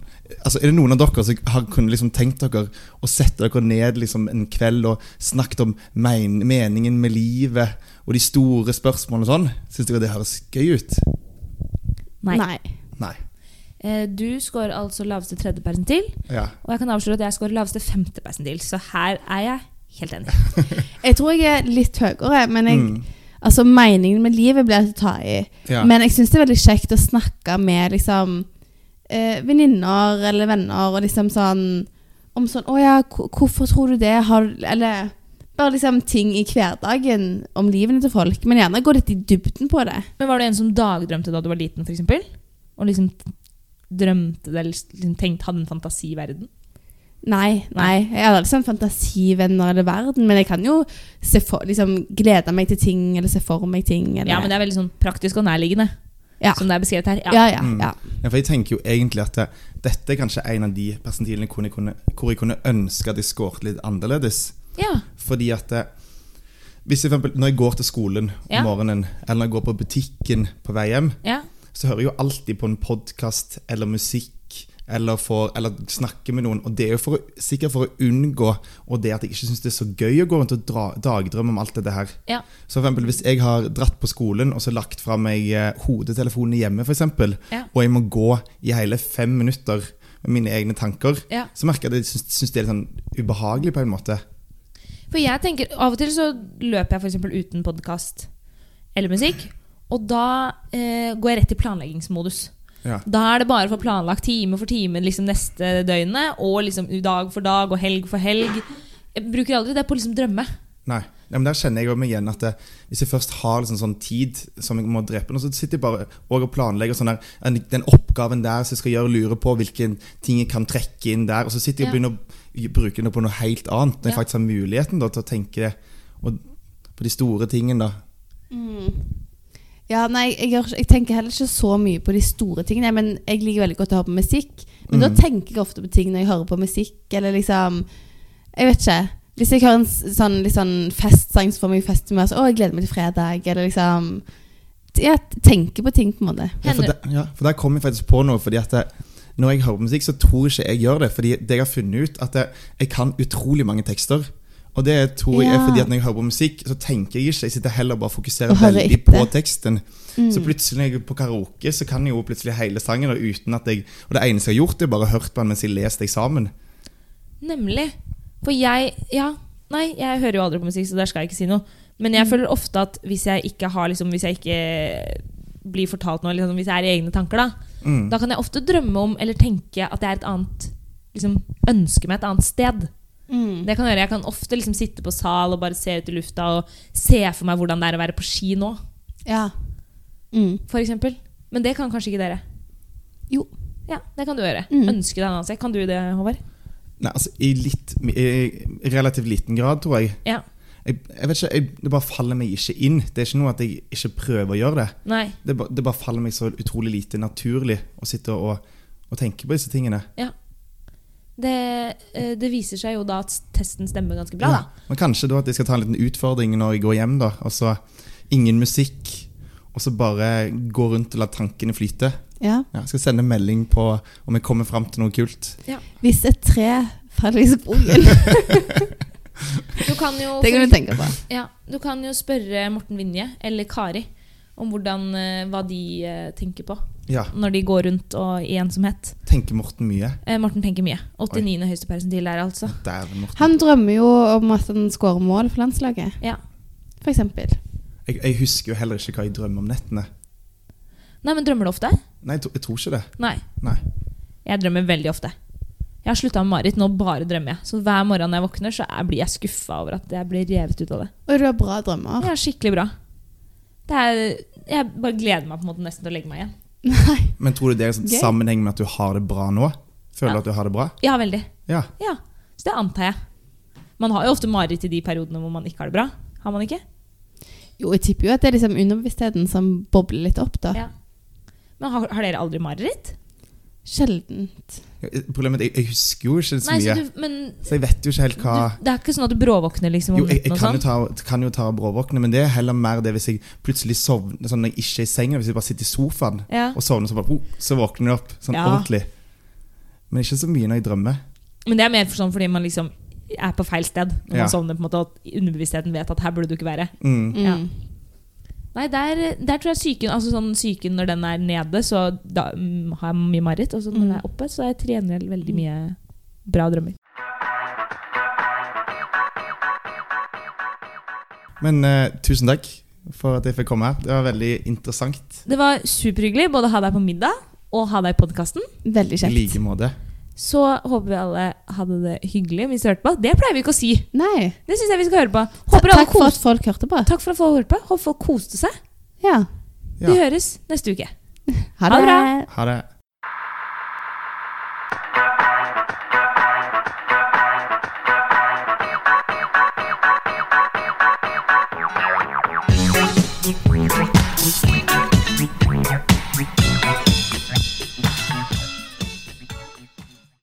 altså, er det noen av dere som har kunnet liksom tenkt dere å sette dere ned liksom en kveld og snakket om men meningen med livet og de store spørsmålene og sånn? Syns dere det høres gøy ut?
Nei.
Nei.
Eh, du scorer altså laveste tredje persentil,
Ja.
og jeg kan avsløre at jeg scorer laveste femte persentil, så her er jeg helt enig.
Jeg tror jeg er litt høyere, men jeg,
Mm.
altså, meningen med livet blir jeg til å ta i.
Ja.
Men jeg syns det er veldig kjekt å snakke med liksom, eh, venninner eller venner og liksom sånn Om sånn 'Å ja, hvor- hvorfor tror du det?' Har, du- eller bare liksom ting i hverdagen om livene til folk. Men gjerne gå litt i dybden på det.
Men var du en som dagdrømte da du var liten, for eksempel? Og liksom drømte det, eller liksom tenkte, hadde en fantasiverden?
Nei, nei. Jeg har aldri sånn fantasivenner eller verden, men jeg kan jo se for, liksom, glede meg til ting eller se for meg ting. Eller,
Ja, men det er veldig sånn praktisk og nærliggende,
Ja.
som det er beskrevet her. Ja.
ja, ja,
Mm.
ja.
Ja, for jeg tenker jo egentlig at det, dette er kanskje en av de persentilene hvor jeg kunne, hvor jeg kunne ønske at jeg skåret litt annerledes.
ja.
Fordi at eh, hvis jeg for eksempel, Når jeg går til skolen om
Ja.
morgenen, eller når jeg går på butikken på vei hjem,
ja.
så hører jeg jo alltid på en podkast eller musikk eller, får- eller snakker med noen. Og det er jo for å, sikkert for å unngå og det at jeg ikke syns det er så gøy å gå rundt og dra, dagdrømme om alt dette her.
Ja.
Så for eksempel, hvis jeg har dratt på skolen og så lagt fra meg eh, hodetelefonene hjemme, for eksempel,
Ja.
og jeg må gå i hele fem minutter med mine egne tanker,
Ja.
så merker jeg at jeg syns- syns det er litt sånn ubehagelig på en måte.
For jeg tenker, av og til så løper jeg for eksempel uten podcast eller musikk, og da eh, går jeg rett i planleggingsmodus.
Ja.
Da er det bare for planlagt time for time liksom neste døgnet, og liksom dag for dag, og helg for helg. Jeg bruker aldri det på liksom drømme.
Nei, ja, men Der kjenner jeg jo meg igjen at det, hvis jeg først har liksom sånn tid som jeg må drepe nå, så sitter jeg bare og planlegger sånn der, en- den oppgaven der som jeg skal gjøre, lurer på hvilke ting jeg kan trekke inn der. Og så sitter jeg og
Ja.
begynner å bruke det på noe helt annet, når jeg
Ja.
faktisk har muligheten da, til å tenke det. Og på de store tingene, da.
Mm. Ja, nei, jeg, gjør, ikke- jeg tenker heller ikke så mye på de store tingene, men jeg liker veldig godt å høre på musikk. Men da
Mm.
tenker jeg ofte på ting når jeg hører på musikk, eller liksom Jeg vet ikke. Hvis jeg hører en s- sånn, litt sånn festsang, så får meg festhumør. Så, 'Å, jeg gleder meg til fredag', eller liksom Jeg tenker på ting, på en måte.
Ja, for,
Henry-
der, ja, for der kom jeg faktisk på noe. Fordi at det, Når jeg hører på musikk, så tror jeg ikke jeg gjør det. Fordi det jeg har funnet ut, at det, jeg kan utrolig mange tekster. Og det tror jeg
Ja.
er fordi at når jeg hører på musikk, så tenker jeg ikke. Jeg sitter heller bare og
Og
fokuserer
hører
veldig
etter.
på teksten.
Mm.
Så plutselig når jeg er på karaoke, så kan jeg jo plutselig hele sangen. Og, uten at jeg, og det eneste jeg har gjort, er bare hørt på den mens jeg leser eksamen.
Nemlig. For jeg Ja, nei, jeg hører jo aldri på musikk, så der skal jeg ikke si noe. Men jeg
Mm.
føler ofte at hvis jeg ikke har liksom, Hvis jeg ikke blir fortalt noe, eller liksom, hvis jeg er i egne tanker, da,
Mm.
da kan jeg ofte drømme om eller tenke at jeg er et annet liksom, Ønske meg et annet sted.
Mm.
Det jeg kan gjøre, Jeg kan ofte liksom sitte på sal og bare se ut i lufta og se for meg hvordan det er å være på ski nå,
Ja. Mm.
f.eks. Men det kan kanskje ikke dere.
Jo.
Ja, Det kan du gjøre.
Mm.
Ønske deg en annen sted. Kan du det, Håvard?
Nei, altså i litt I relativt liten grad, tror jeg.
Ja.
Jeg, jeg vet ikke, jeg, Det bare faller meg ikke inn. Det er ikke noe at jeg ikke prøver å gjøre det.
Nei.
det, ba- det bare faller meg så utrolig lite naturlig å sitte og, og tenke på disse tingene.
Det, eh, det viser seg jo da at testen stemmer ganske bra, da.
Ja. Men kanskje da at jeg skal ta en liten utfordring når jeg går hjem, da. Og så ingen musikk. Og så bare gå rundt og la tankene flyte.
Ja.
Ja, jeg skal sende melding på om jeg kommer fram til noe kult.
Hvis et tre faller i skogen
Du kan jo,
Det kan du tenke på.
ja, du kan jo spørre Morten Vinje eller Kari om hvordan, eh, hva de eh, tenker på
Ja.
når de går rundt og i ensomhet.
Tenker Morten mye?
Eh, Morten tenker mye. 89. høyeste persentil der, altså.
Dæven, Morten.
Han drømmer jo om at han skårer mål for landslaget,
Ja.
for eksempel.
Jeg, jeg husker jo heller ikke hva jeg drømmer om nettene.
Nei, men drømmer du ofte?
Nei, jeg, tro- jeg tror ikke det.
Nei.
Nei.
Jeg drømmer veldig ofte. Jeg har slutta med mareritt, nå bare drømmer jeg. Så hver morgen når jeg våkner, så er- blir jeg skuffa over at jeg blir revet ut av det.
Og du har bra drømmer.
Det er skikkelig bra. Det er, jeg bare gleder meg på en måte nesten til å legge meg igjen.
Nei.
Men tror du det er en sånn
Gøy.
sammenheng med at du har det bra nå? Føler du
Ja.
at du har det bra?
Ja, veldig.
Ja.
Ja, så det antar jeg. Man har jo ofte mareritt i de periodene hvor man ikke har det bra. Har man ikke?
Jo, jeg tipper jo at det er liksom underbevisstheten som bobler litt opp, da.
Ja. Men har, har dere aldri mareritt?
Sjeldent.
Problemet er at jeg, jeg husker jo ikke så
Nei,
mye.
så du, men
Så jeg vet jo ikke helt
du,
hva
det er ikke sånn at du bråvåkner liksom? om
Jo, jeg,
natten
jeg
og
kan jo
sånn?
ta, kan jo ta bråvåkne, men det er heller mer det hvis jeg plutselig sovner sånn når jeg ikke er i sengen, hvis jeg bare sitter i sofaen
ja.
og sovner, så bare oh, Så våkner jeg opp sånn
Ja.
ordentlig. Men ikke så mye når jeg drømmer.
Men det er mer for sånn fordi man liksom er på feil sted når
Ja.
man sovner, på en måte, og at underbevisstheten vet at her burde du ikke være.
Mm.
Mm.
Ja. Nei, der, der tror jeg psyken altså sånn psyken når den er nede, så da, mm, har jeg mye mareritt. Og så når
Mm.
den er oppe, så jeg trener jeg veldig mye bra drømmer.
Men eh, tusen takk for at jeg fikk komme her. Det var veldig interessant.
Det var superhyggelig både å ha deg på middag og ha deg i podkasten.
Veldig
I
kjekt.
like måte.
Så håper vi alle hadde det hyggelig mens de hørte på. Det pleier vi ikke å si.
Nei.
Det syns jeg vi skal høre på.
Ta-
Håper alle
Takk for at
koste.
folk hørte på.
Takk for at folk hørte på. Håper folk koste seg.
Ja.
Ja.
Vi høres neste uke.
Ha
Ha
det
det
bra.
bra.
Ha det.